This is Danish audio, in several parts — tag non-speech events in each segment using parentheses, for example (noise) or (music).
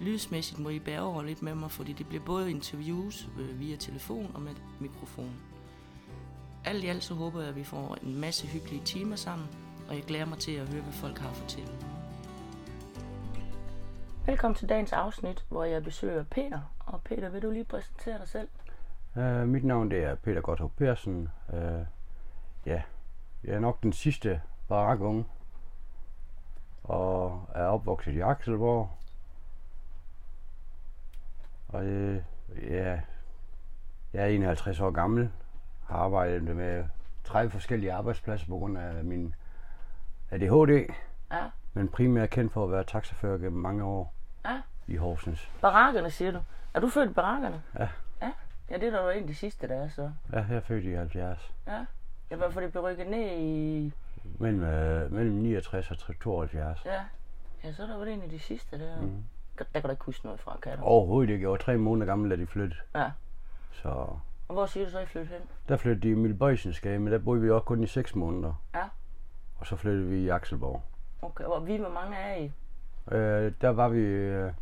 Lydsmæssigt må I bære over lidt med mig, fordi det bliver både interviews øh, via telefon og med mikrofon. Alt i alt så håber jeg, at vi får en masse hyggelige timer sammen, og jeg glæder mig til at høre, hvad folk har at fortælle. Velkommen til dagens afsnit, hvor jeg besøger Peter. Og Peter, vil du lige præsentere dig selv? Øh, mit navn det er Peter Gotthold Persen. Øh, ja, jeg er nok den sidste barakunge og er opvokset i Akselborg. Og øh, ja, jeg er 51 år gammel, har arbejdet med 30 forskellige arbejdspladser på grund af min ADHD, Ja. men primært kendt for at være taxafører gennem mange år Ja. i Horsens. Barakkerne, siger du. Er du født i barakkerne? Ja. Ja, ja det er da jo en af de sidste, der er så. Ja, jeg er født i 70. Ja. Ja, hvorfor det blev rykket ned i... Mellem, øh, mellem 69 og 72. Ja. Ja, så er der vel en af de sidste der. Mhm. Mm. Der kan du ikke huske noget fra, kan du? Overhovedet ikke. Jeg var tre måneder gammel, da de flyttede. Ja. Så Og hvor siger du så, I flyttede hen? der flyttede de i Milbøjsensgade, men der boede vi også kun i 6 måneder. Ja. Og så flyttede vi i Akselborg. Okay, og vi, hvor mange er I? Øh, der var vi... Øh,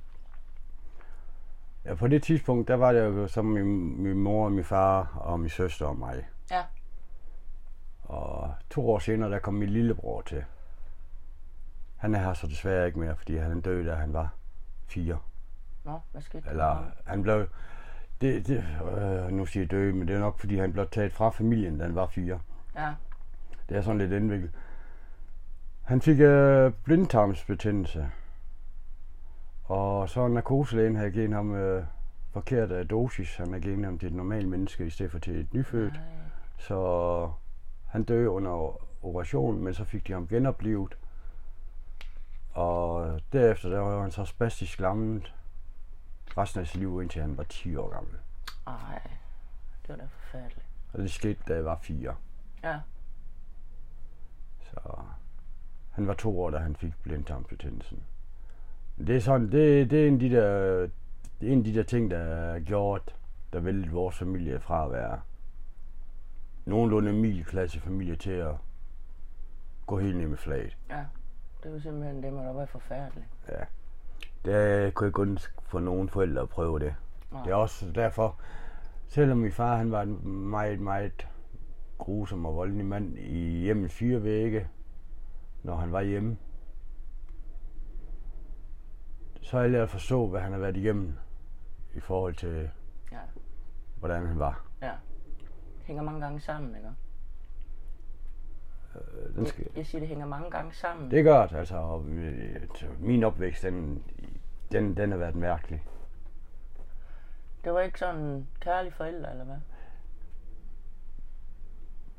ja, på det tidspunkt, der var det jo som min, min mor og min far og min søster og mig. Ja. Og to år senere, der kom min lillebror til. Han er her så desværre ikke mere, fordi han døde, da han var fire. Nå, hvad skete der? Eller han blev... Det, det, øh, nu siger jeg døde, men det er nok, fordi han blev taget fra familien, da han var fire. Ja. Det er sådan lidt indviklet. Han fik øh, blindtarmsbetændelse. Og så narkoselægen havde givet ham øh, forkert øh, dosis. Han havde givet ham til et normalt menneske i stedet for til et nyfødt. Nej. Så han døde under operationen, men så fik de ham genoplevet. Og derefter der var han så spastisk lammet resten af sit liv, indtil han var 10 år gammel. Ej, det var da forfærdeligt. Og det skete, da jeg var 4. Ja. Så han var to år, da han fik blindtarmsbetændelsen. Det er sådan, det, det, er en af de der, det er en af de der ting, der er gjort, der væltede vores familie fra at være nogenlunde middelklasse familie til at gå helt ned med flaget. Ja. Det var simpelthen det, man der var forfærdeligt. Det kunne jeg kun få nogen forældre at prøve det. Nej. Det er også derfor, selvom min far han var en meget, meget grusom og voldelig mand i hjemmets fire vægge, når han var hjemme, så er jeg lært at forstå, hvad han har været igennem i forhold til, Ja. hvordan han var. Ja. Hænger mange gange sammen, ikke? Øh, Den skal, Jeg, jeg siger, det hænger mange gange sammen. det er godt, altså. og, øh, Min opvækst, den, den, den har været mærkelig. Det var ikke sådan kærlige forældre, eller hvad?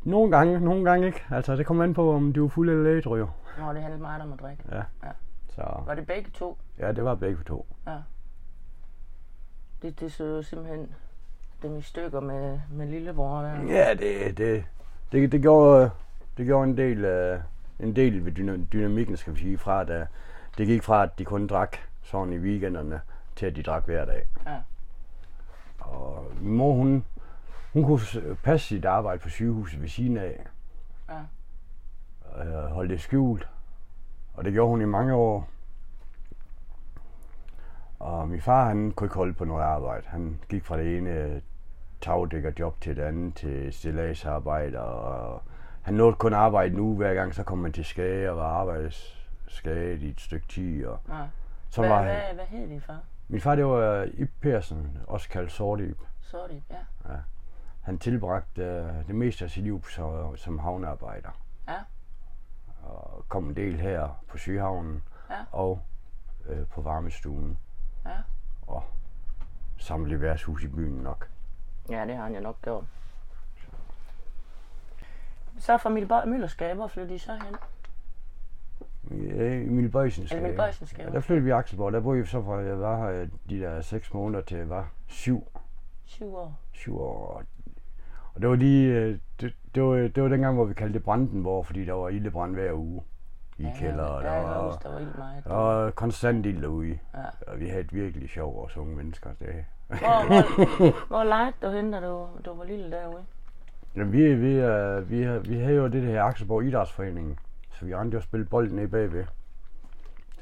Nogle gange, nogle gange ikke. Altså, det kommer an på, om du er fuld eller ædru. Nå, det handlede meget om at drikke. Så Var det begge to? ja, det var begge to. Det, det så jo simpelthen dem i stykker med, med lillebror der. Ja, det, det, det, det, gjorde, det gjorde en del, øh, en del ved dyna- dynamikken, skal vi sige, fra at øh, det gik fra, at de kun drak sådan i weekenderne, til at de drak hver dag. Ja. Og min mor, hun, hun kunne s- passe sit arbejde på sygehuset ved siden af. Ja. Øh, holde det skjult. Og det gjorde hun i mange år. Og min far, han kunne ikke holde på noget arbejde. Han gik fra det ene øh, tagdækkerjob til det andet, til stilladsarbejde, og han nåede kun arbejde nu hver gang, så kom man til skade og var arbejdsskadet i et stykke tid, og Ja. sådan Hvad, var han. hvad, hvad hed din far? Min far, det var øh, Ip Persen, også kaldt Sortib. Sorry, ja. Han tilbragte øh, det meste af sit liv så, som havnearbejder. Ja. Og kom en del her på Sygehavnen Ja. og øh, på varmestuen. Ja. Og samlet værtshus i byen nok. Ja, det har han jo nok gjort. Så fra Mille Møllerskab, hvor flyttede I så hen? Ja, i Milbøjsens Eller Mille Ja, der flyttede vi i Akselborg. Der boede vi så fra, jeg var her øh, de der 6 måneder til jeg var 7. Syv år. syv år. og- Og det var lige, øh, det, det, var, det var dengang, hvor vi kaldte det Brandenborg, fordi der var ildebrand hver uge i ja, kælder, og der, der der, jeg kan huske, der var, var helt meget. der var konstant ild derude. Ja. Og vi havde et virkelig sjov og unge mennesker. Det. Hvor, hvor, hvor legede du hen, da du, du var lille derude? Jamen, vi, vi, øh, vi, havde- vi havde jo det her Akselborg Idrætsforening, så vi rendte jo og spille bold ned bagved.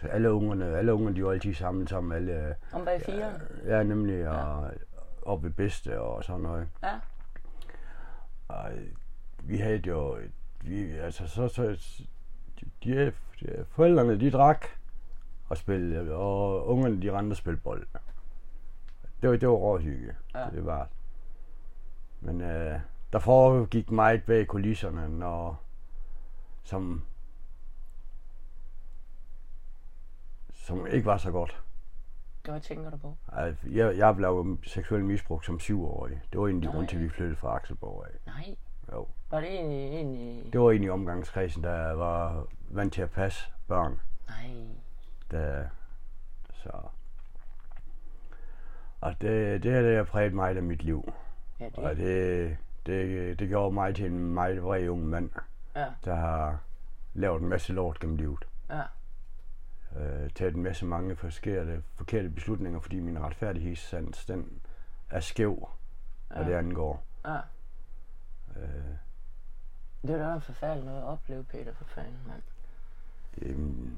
Så alle ungerne, alle ungerne, de var altid samlet sammen, alle, øh, Om bag fire? ja, nemlig, og, og ved bedste og sådan noget. Ja. Ej, vi havde jo... et- Vi, altså, så, så, de, de, de, forældrene, de drak og spillede, og ungerne, de rendte og spillede bold. Det var, det var råhygge. Ja. Ja. Det var det. Men øh, der foregik meget bag kulisserne, når, som, som ikke var så godt. Hvad tænker du på? Ej, Jeg, jeg blev seksuelt misbrugt som syvårig. Det var egentlig Nej. grund til, at vi flyttede fra Akselborg af. Nej. Jo. Var det egentlig... egentlig... Det var en i omgangskredsen, der var vant til at passe børn. Nej. Der, så. Og det, det er det, der præget meget af mit liv. Ja, det, Og det, det, det gjorde mig til en meget vred ung mand, ja, der har lavet en masse lort gennem livet. ja. Øh, taget en masse mange forkerte, forkerte beslutninger, fordi min retfærdighedssans, den er skæv, hvad det angår. Ja. Øh, Det var da en forfærdelig noget at opleve, Peter, for fanden, mand. Øhm,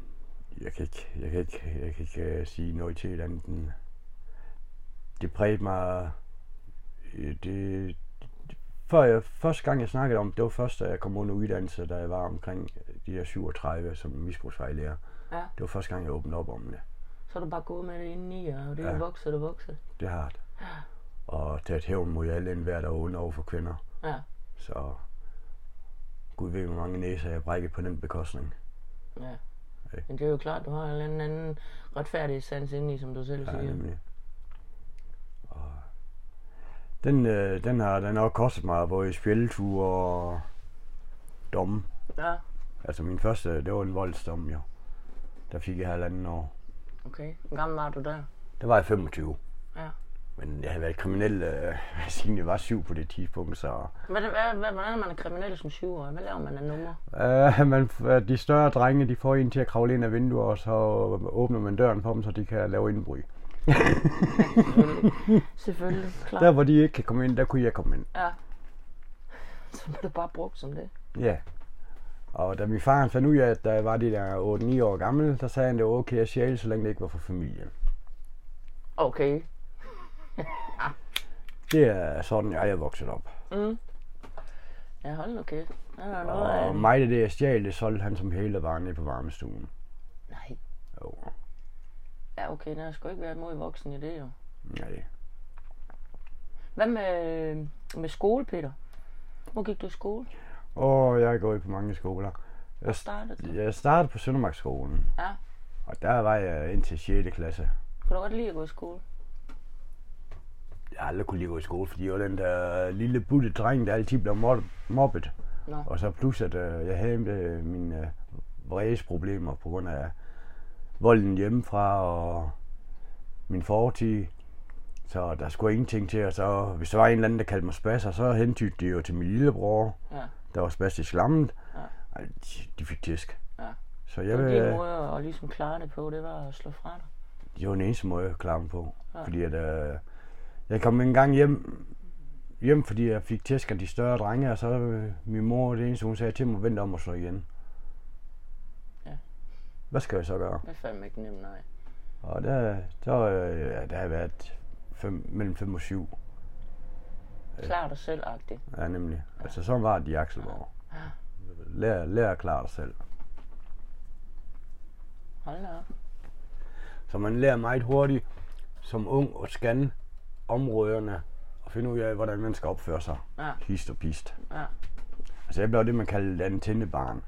jeg kan ikke, jeg kan ikke, jeg kan ikke øh, sige noget til et andet end, det prægte mig, øh, det, før jeg, første gang jeg snakkede om, det var først, da jeg kom under uddannelse, da jeg var omkring øh, de der 37 som misbrugsvejlærer. Ja. Det var første gang, jeg åbnede op om det. Så er du bare gået med det indeni, og det er Ja. vokset og vokset. Det har det. Og taget hævn mod alle enhver, der var onde over for kvinder. Ja. Så Gud ved, hvor mange næser jeg brækkede på den bekostning. Ja. Ikke? Men det er jo klart, du har en eller anden, anden retfærdig sans indeni, som du selv Ja, siger. nemlig. Og den, øh, den, har, den har kostet mig både spjældeture og domme. Ja, Altså min første, det var en voldsdom jo. Der fik jeg halvanden år. okay. Hvor gammel var du der? Der var jeg 25. Ja. Men jeg havde været kriminel, øh, (laughs) siden jeg var syv på det tidspunkt, så... Hvad, hvad, hvad, hvordan er man kriminel som syvårig? Hvad laver man af numre? Øh, (laughs) man, f- de større drenge, de får en til at kravle ind af vinduer, og så åbner man døren for dem, så de kan lave indbrud. (laughs) Selvfølgelig, klart. Der, hvor de ikke kan komme ind, der kunne jeg komme ind. Ja. Så blev du bare brugt som det. Ja. Og da min far han fandt ud af, at da jeg var de der 8-9 år gammel, så sagde han, det var okay at sjæle, så længe det ikke var for familien. Okay. Det er sådan, jeg er vokset op. Ja, hold nu kæft. Der er noget af Og en... mig, af det jeg stjal, det solgte han som hele varen nede på varmestuen. Nej. Jo, Ja, okay, der skulle ikke være mod voksen i det jo. nej. Hvad med, med skole, Peter? Hvor gik du i skole? Og jeg går i på mange skoler. Jeg, startede du? jeg startede på Søndermarksskolen, Ja. og der var jeg indtil 6. klasse. Kunne du godt lide at gå i skole? Jeg har aldrig kunne lide at gå i skole, fordi jeg var den der lille butte dreng, der altid blev mob- mobbet. Nå. Og så plus, at øh, jeg havde øh, mine øh, vredesproblemer på grund af volden hjemmefra og min fortid. Så der skulle ingenting til, og så hvis der var en eller anden, der kaldte mig spasser, så hentydte de jo til min lillebror, Ja. der var spastisk lammet. Ja. Ej, de- de fik tæsk. Ja. Så Det jeg, var din øh, måde at ligesom klare det på, det var at slå fra dig. det var den eneste måde, jeg klarede mig på. Fordi at, øh, jeg kom en gang hjem, hjem, fordi jeg fik tæsk af de større drenge, og så øh, min mor, det eneste, hun sagde til mig, vent om og slå igen. Ja. Hvad skal jeg så gøre? Det er fandme ikke nemt, nej. Og der, der, var jeg- ja, der har jeg været fem, mellem 5 og 7, Klar dig selv -agtigt. ja, nemlig. Altså sådan var det i Akselborg. Lær, lær at klare dig selv. Hold da op. Så man lærer meget hurtigt som ung at scanne områderne og finde ud af, hvordan man skal opføre sig. Ja. Hist og pist. Ja. Altså jeg blev det, man kalder et antennebarn.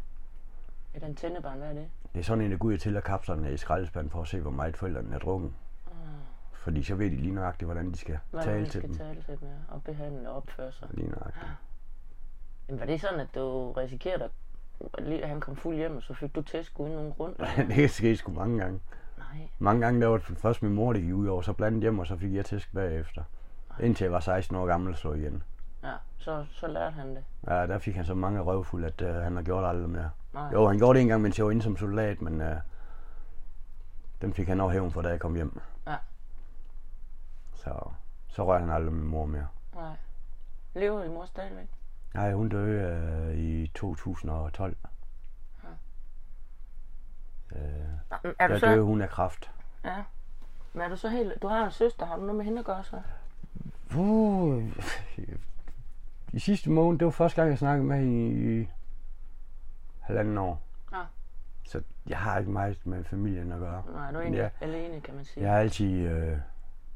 Et antennebånd, hvad er det? Det er sådan en, der går ud og tæller kapslerne i skraldespanden for at se, hvor meget forældrene er drukket. Fordi så ved de lige nøjagtigt, hvordan de skal Hvad tale man til Mm. skal dem. tale til dem, ja. Og behandle og opføre sig. Lige nøjagtigt. Men var det sådan, at du risikerede, at lige- han kom fuld hjem, og så fik du tæsk uden nogen grund? (laughs) det kan ske sgu mange gange. Nej. Mange gange, der var det først min mor, der gik ud over, så blandet hjem, og så fik jeg tæsk bagefter. Indtil jeg var 16 år gammel så igen. Ja, så, så lærte han det. Ja, der fik han så mange røvfulde, at øh, han har gjort aldrig mere. Nej. Jo, han gjorde det engang, mens jeg var inde som soldat, men øh, den fik han over hævn for, da jeg kom hjem. Ja. Så, så rørte han aldrig min mor mere. Nej. Lever din mor stadigvæk? Nej, hun døde øh, i 2012. Ja. Øh, Er du der døde så, hun af kræft. ja. Men er du så helt... Du har en søster, har du noget med hende at gøre så? Uh, (laughs) I sidste måned, det var første gang, jeg snakkede med hende i, i halvanden år. Ja. Så jeg har ikke meget med familien at gøre. Nej, du er egentlig Ja. ja. alene, kan man sige. Jeg har altid øh,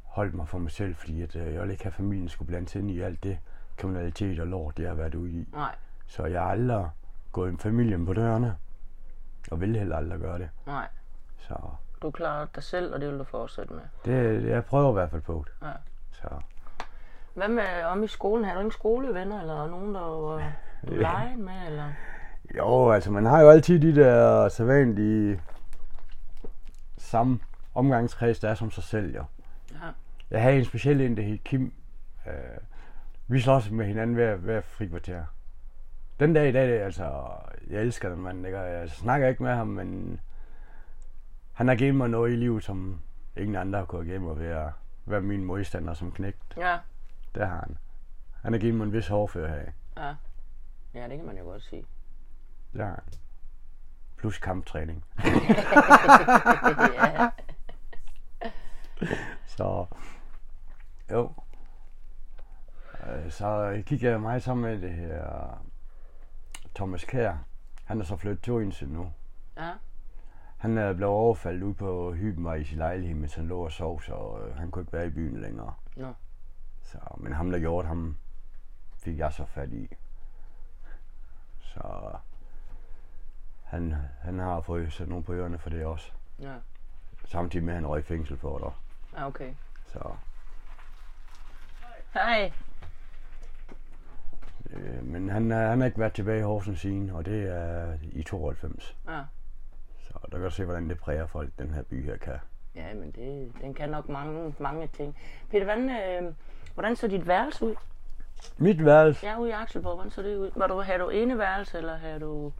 holdt mig for mig selv, fordi at, øh, jeg ville ikke have, at familien skulle blandes ind i alt det kriminalitet og lort, det har været ude i. Nej, Så jeg har aldrig gået med familien på dørene, og vil heller aldrig gøre det. nej. Så Du klarer dig selv, og det vil du fortsætte med. det, jeg prøver i hvert fald på det. Ja. Så Hvad med om i skolen? Har du ingen skolevenner, eller nogen, der var (laughs) du Ja. leger med, eller? Jo, altså man har jo altid de der sædvanlige samme omgangskreds, der er som sig selv, jo. Ja. Jeg havde en speciel en, der hed Kim. Øh, vi slås med hinanden hver, hver frikvarter. Den dag i dag, det er altså, jeg elsker den mand, ikke? Og jeg snakker ikke med ham, men han har givet mig noget i livet, som ingen andre har kunnet give mig ved at være min modstander som knægt. ja. Det har han. Han har givet mig en vis hårdfør her. Ja, det kan man jo godt sige. Det har han. Plus kamptræning. ja. Så jo. Øh, Så gik jeg meget sammen med det her Thomas Kær. Han er så flyttet til Odense nu. Ja. Han er blevet overfaldet ude på Hybenvej i sin lejlighed, mens han lå og sov, så øh, han kunne ikke være i byen længere. Nå. Så, men ham, der gjorde det, ham fik jeg så fat i. Så han, han har fået sat nogen på ørerne for det også. Ja. Samtidig med, at han røg i fængsel for det. Ja, okay. Så Hej. Øh, men han, er- han har ikke været tilbage i Horsens siden, og det er i 92. Ja. Så der kan du se, hvordan det præger folk, den her by her kan. Ja, men det, den kan nok mange, mange ting. Peter, hvordan, øh, hvordan så dit værelse ud? Mit værelse, Jeg er ude i Akselborg, hvordan så det ud? Var du, havde du ene værelse, eller havde du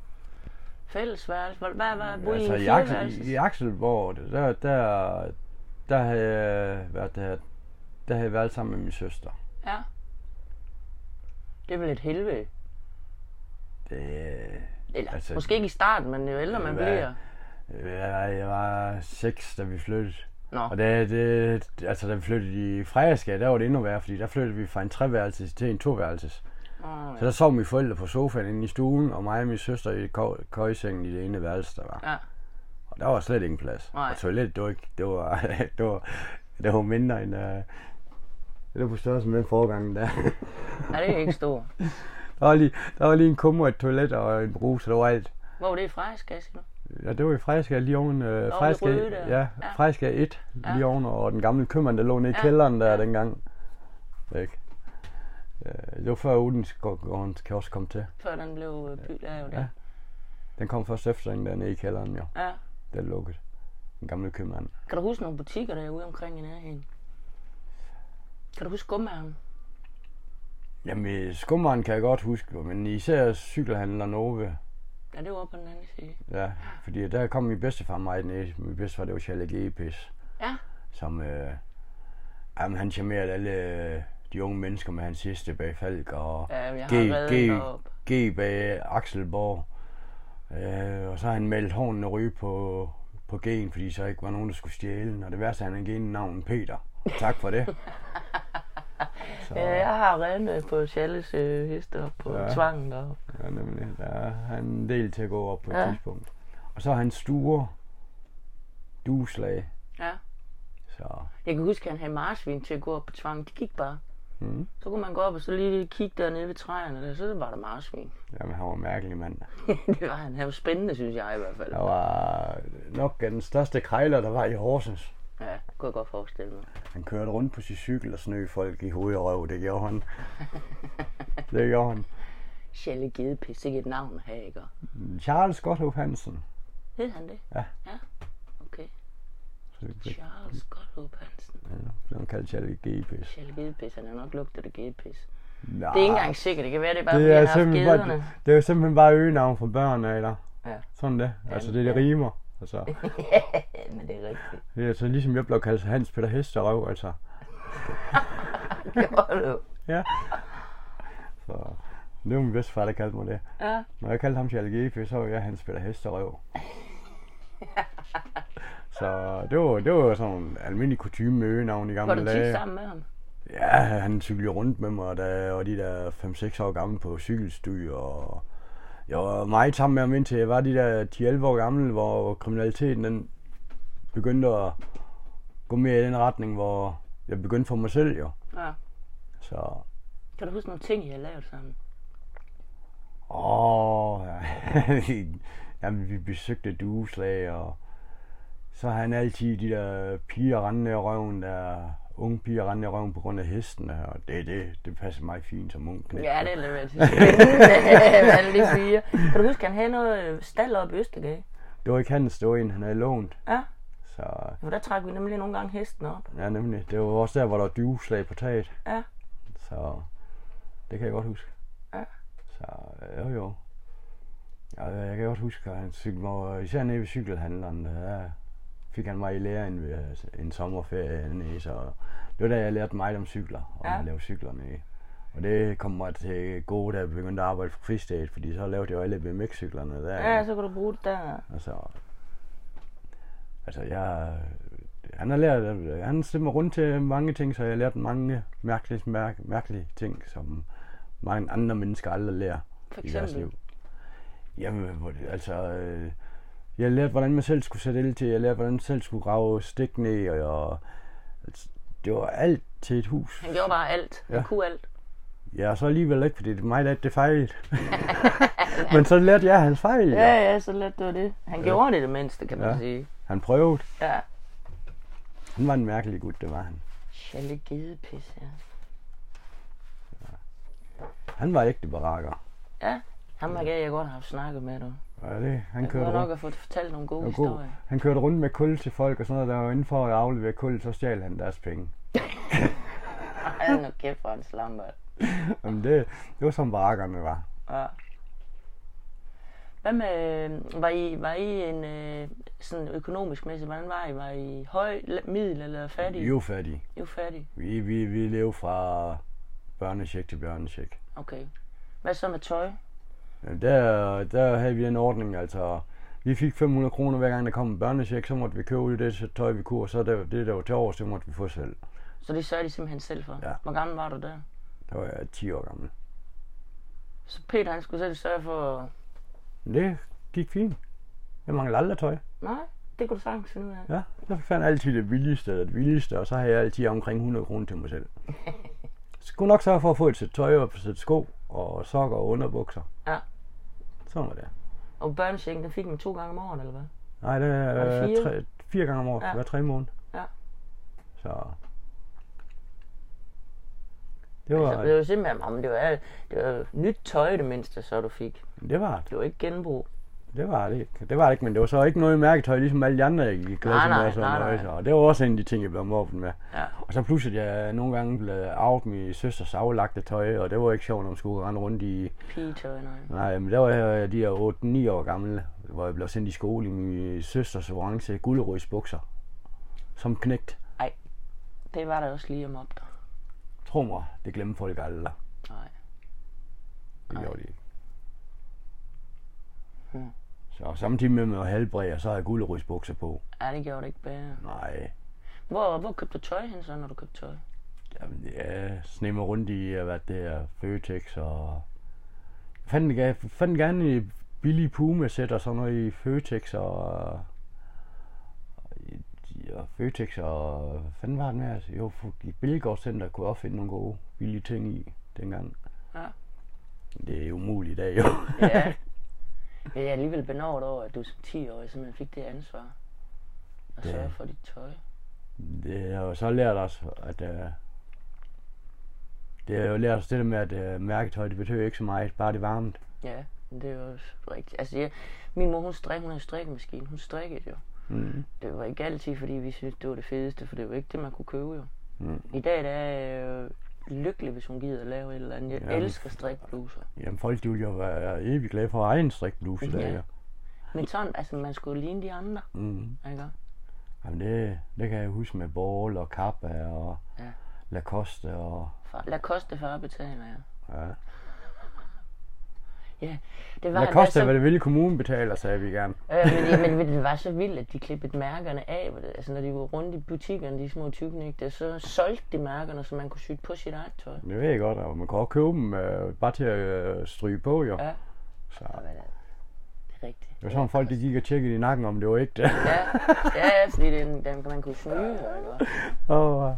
fælles værelse? Hvad, hvad, hvad boede altså I i i, fire Axel, værelses? i Axelborg, der, der, der havde jeg været der, der havde jeg været sammen med min søster. Ja. Det er vel et helvede. Det, Eller Altså- altså, måske ikke i starten, men jo ældre man Hvad- bliver. øh, jeg, var- jeg var seks, da vi flyttede. Nå, Og da, det, altså, da vi flyttede i Frejaskade, der var det endnu værre, fordi der flyttede vi fra en treværelses til en toværelses. Åh, Så der sov mine forældre på sofaen inde i stuen, og mig og min søster i køj- køjesengen i det ene værelse, der var. ja. Og der var slet ingen plads. Nej. Og toilettet, det var, ikke, det var, (laughs) det var, det var mindre end... Uh, det var på størrelse med den forgangen der. (laughs) ja, det er ikke stort. der, var lige, der var lige en kummer, et toilet og en brus, og der var alt. Hvor var det i Frejaskasse nu? Ja, det var i Frejska lige oven... Øh, Frejska, røde der. ja, Ja. Frejska 1 Ja. lige oven, og den gamle købmand, der lå nede i Ja. kælderen der Ja. dengang. Ikke? Øh, Det var før Odensgården kiosk kom til. Før den blev øh, by, der er jo det. Ja. Den kom først efter den der nede i kælderen, jo. Ja. Den er lukket. Den gamle købmand. Kan du huske nogle butikker derude omkring i nærheden? Kan du huske gummeren? Jamen, skummeren kan jeg godt huske, jo, men især cykelhandleren Ove. Ja, det var oppe på den anden side. Ja, fordi der kom min bedstefar meget ned. Min bedstefar, det var Chalet Gepis, Ja, som... Øh, jamen, han charmerede alle øh, de unge mennesker med hans sidste bag Falk og ja jeg G, har reddet G, derop. G bag Axelborg. Øh, og så har han meldt hånden ryge på, på gen, fordi så ikke var nogen, der skulle stjæle den. Og det værste, er, at han gav navnet Peter. Tak for (laughs) det. Så, Ja, jeg har reddet på Challes øh, heste op på Ja. ja. tvangen deroppe. Ja, nemlig. Der er han en del til at gå op på et ja. Ja. tidspunkt. Og så er han store duslag. Ja. Så Jeg kan huske, at han havde marsvin til at gå op på tvangen. De gik bare. Mhm. Så kunne man gå op og så lige kigge dernede ved træerne, der, så var der marsvin. (laughs) jamen, han var en mærkelig mand. det var han. Han var spændende, synes jeg i hvert fald. Der var nok den største krejler, der var i Horsens. Ja, det kunne jeg godt forestille mig. Han kørte rundt på sin cykel og snø folk i hoved og røv. Det gjorde han. det gjorde han. Sjælle Gedepis, ikke et navn at have, ikke? Charles Gotthof Hansen. Hed han det? Ja. Ja, okay. Så- Charles Godtrup Hansen. Han blev kaldt Charlie Gepes. Charles Gedepis, han har nok lugtet af gedepis. Nej, Det er ikke engang sikkert, det kan være, Ah. det er bare, det fordi er, han har haft simpelthen gederne. bare, (laughs) det er jo simpelthen bare øgenavn for børn, eller? Ja. Sådan det. Altså, det er det rimer. Altså, Men det er rigtigt. det er altså ligesom jeg blev kaldt Hans Peter Hesterøv, altså. Gjorde du? Ja. Så det var min bedste far, der kaldte mig det. Ja. Når jeg kaldte ham Charlie Gepes, så var jeg Hans Peter (laughs) Hesterøv. Så det var, det var sådan en almindelig kutume med øgenavn i Var gamle du dage. tit sammen med ham? Ja, han cyklede rundt med mig, da jeg var de der 5-6 år gamle på cykelstue, og jeg var meget sammen med ham indtil jeg var de der 10-11 år gammel, hvor kriminaliteten den begyndte at gå mere i den retning, hvor jeg begyndte for mig selv jo. Ja. Så, Kan du huske nogle ting, I har lavet sammen? åh, (laughs) ja. Jamen, vi besøgte dueslag, og så har han altid de der piger rendende i røven, der unge piger rendende i røven på grund af hestene, og det, det, det passer mig fint som ung. knægt. Ja, det er lidt spændende, (laughs) hvad alle de siger. Kan du huske, han havde noget øh, stald oppe i Østergade? Det var ikke hans, det var en, han havde lånt. Ja, Så for der trak vi nemlig nogle gange hesten op. ja, nemlig. Det var også der, hvor der var dyveslag på taget. Ja. Så det kan jeg godt huske. Ja. Så øh, jo jo. Ja, jeg kan godt huske, at han cyklede mig, især nede ved cykelhandleren, der fik han mig i lære en, øh, en sommerferie nede, så det var da jeg lærte meget om cykler, og Ja. ja. at lave cykler nede. Og det kom mig til gode, da jeg begyndte at arbejde for Fristate, fordi så lavede jeg jo alle BMX-cyklerne der. Ja, så kunne du bruge det der. Altså, altså jeg, han har lært, han stemmer rundt til mange ting, så jeg har lært mange mærkelige, mærk, mærkelige ting, som mange andre mennesker aldrig lærer For i deres liv. eksempel. Jamen, hvor det- altså, øh, jeg lærte, hvordan man selv skulle sætte ild til, jeg lærte, hvordan man selv skulle grave stik ned, og, og altså, det var alt til et hus. Han gjorde bare alt. Han Ja. kunne alt. Ja, og så alligevel ikke, fordi det er mig, der (laughs) det fejl. (laughs) Men så lærte jeg hans fejl. Ja, Ja. ja, så let det var det. Han gjorde det det mindste, kan man Ja. sige. Han prøvede. Ja. Han var en mærkelig gut, det var han. Challe gedepis, ja. Han var ægte barakker. Ja, ham har jeg godt haft snakket med, du. Ja, det, han Jeg kunne kørte, nok rundt, have fået fortalt nogle gode han, god, historier. han kørte rundt med kul til folk og sådan noget, der var inde for at aflevere kul, så stjal han deres (laughs) penge. Han er kæft for en slambert. Jamen det, det var som barakkerne var. Ja. Hvad med, øh, var I, var I en, øh, sådan økonomisk mæssigt, hvordan var I? Var I høj, la- middel eller fattig? Vi var fattige. I var fattig. Vi, vi, vi levede fra børnecheck til børnecheck. Okay. Hvad så med tøj? Jamen, Der, der havde vi en ordning, altså vi fik 500 kroner hver gang der kom en børnecheck, så måtte vi købe ud af det tøj, vi kunne, og så det, det der var til over, det måtte vi få selv. Så det sørger de simpelthen selv for. Ja. Hvor gammel var du der? Der var jeg 10 år gammel. Så Peter han skulle selv sørge for... Men det gik fint. Jeg manglede aldrig tøj. Nej, det kunne du sagtens finde ud af. Ja, jeg fandt altid det billigste eller det billigste, og så havde jeg altid omkring 100 kroner (laughs) til mig selv. Skulle nok sørge for at få et sæt tøj og et sæt sko og sokker og underbukser. Ja. Sådan var det. Og børnechecken, den fik man to gange om året, eller hvad? Nej, det er det fire? øh, tre, fire gange om året, Ja. ja. hver tre måneder. Ja. Så... Det var, Altså, det var simpelthen, om det var, det var nyt tøj i det mindste, så du fik. det var det. Det var ikke genbrug. Det var det ikke. Det var det ikke, men det var så ikke noget i mærketøj, ligesom alle de andre, jeg gik i klasse Nej, med. nej, og sådan nej, nej. noget, så- Og det var også en af de ting, jeg blev mobbet med. Ja. Og så pludselig, jeg nogle gange blev arvet min søsters aflagte tøj, og det var ikke sjovt, når man skulle rende rundt i... Pigetøj, nej. Nej, men der var jeg de her 8-9 år gamle, hvor jeg blev sendt i skole i min søsters orange gulderødsbukser. Som knægt. Det var der også lige om op der. Tro mig, det glemmer folk aldrig. Nej. Det Nej. gjorde de ikke. Hmm. Så samtidig med mig at halvbræde, så havde jeg gulderødsbukser på. Ja, det gjorde det ikke bedre. Nej, Hvor, hvor købte du tøj hen så, når du købte (laughs) tøj? Jamen, ja, sne mig rundt i, øh, hvad det er, Føtex og... Jeg fandt, ga- fandt gerne i billige Puma-sæt og sådan noget i Føtex og... og i- i- Og Føtex og... Hvad fanden var det med? Altså, jo, fu- i Billegårdscenter kunne jeg også finde nogle gode, billige ting i dengang. Ja. Det er umuligt i dag, jo. Ja. Men jeg er alligevel benovet over, at du som 10-årig simpelthen fik det ansvar. At Det- sørge for dit tøj. (laughs) Det har jo så lært os, at... Øh, det har jo lært os det der med, at øh, mærketøj, det betyder ikke så meget, bare det er varmt. Ja, men det er jo også rigtigt. Altså, jeg, min mor, hun strik, hun havde strikkemaskine. Hun strikkede jo. Mm. Det var ikke altid, fordi vi syntes, det var det fedeste, for det var ikke det, man kunne købe jo. Mm. I dag der er jeg øh, lykkelig, hvis hun gider at lave et eller andet. Jeg Jamen. elsker strikbluser. Jamen folk, de vil jo være evigt glade for egen strikbluse i dag. Ja. jo. Men sådan, altså man skulle ligne de andre, Mm. ikke? Jamen det, det kan jeg huske med Ball og Kappa og Ja. Lacoste og... Far- Lacoste før betaler jeg. Ja. Ja, det var, det altså? var Lacoste, hvad så, det ville kommunen betaler, sagde vi gerne. øh, men, jamen, men det var så vildt, at de klippede mærkerne af. hvor det- Altså, når de var rundt i butikkerne, de små tykknægte, så solgte de mærkerne, så man kunne syge på sit eget tøj. Det ved jeg godt, og man kan også købe dem øh, bare til at øh, stryge på, jo. Ja. Så Og hvad er det? Det er rigtigt. det var sådan, folk de gik og tjekkede i nakken, om det var (laughs) ægte. Ja, ja, ja fordi den, den, man kunne snyde, ikke? også? Åh,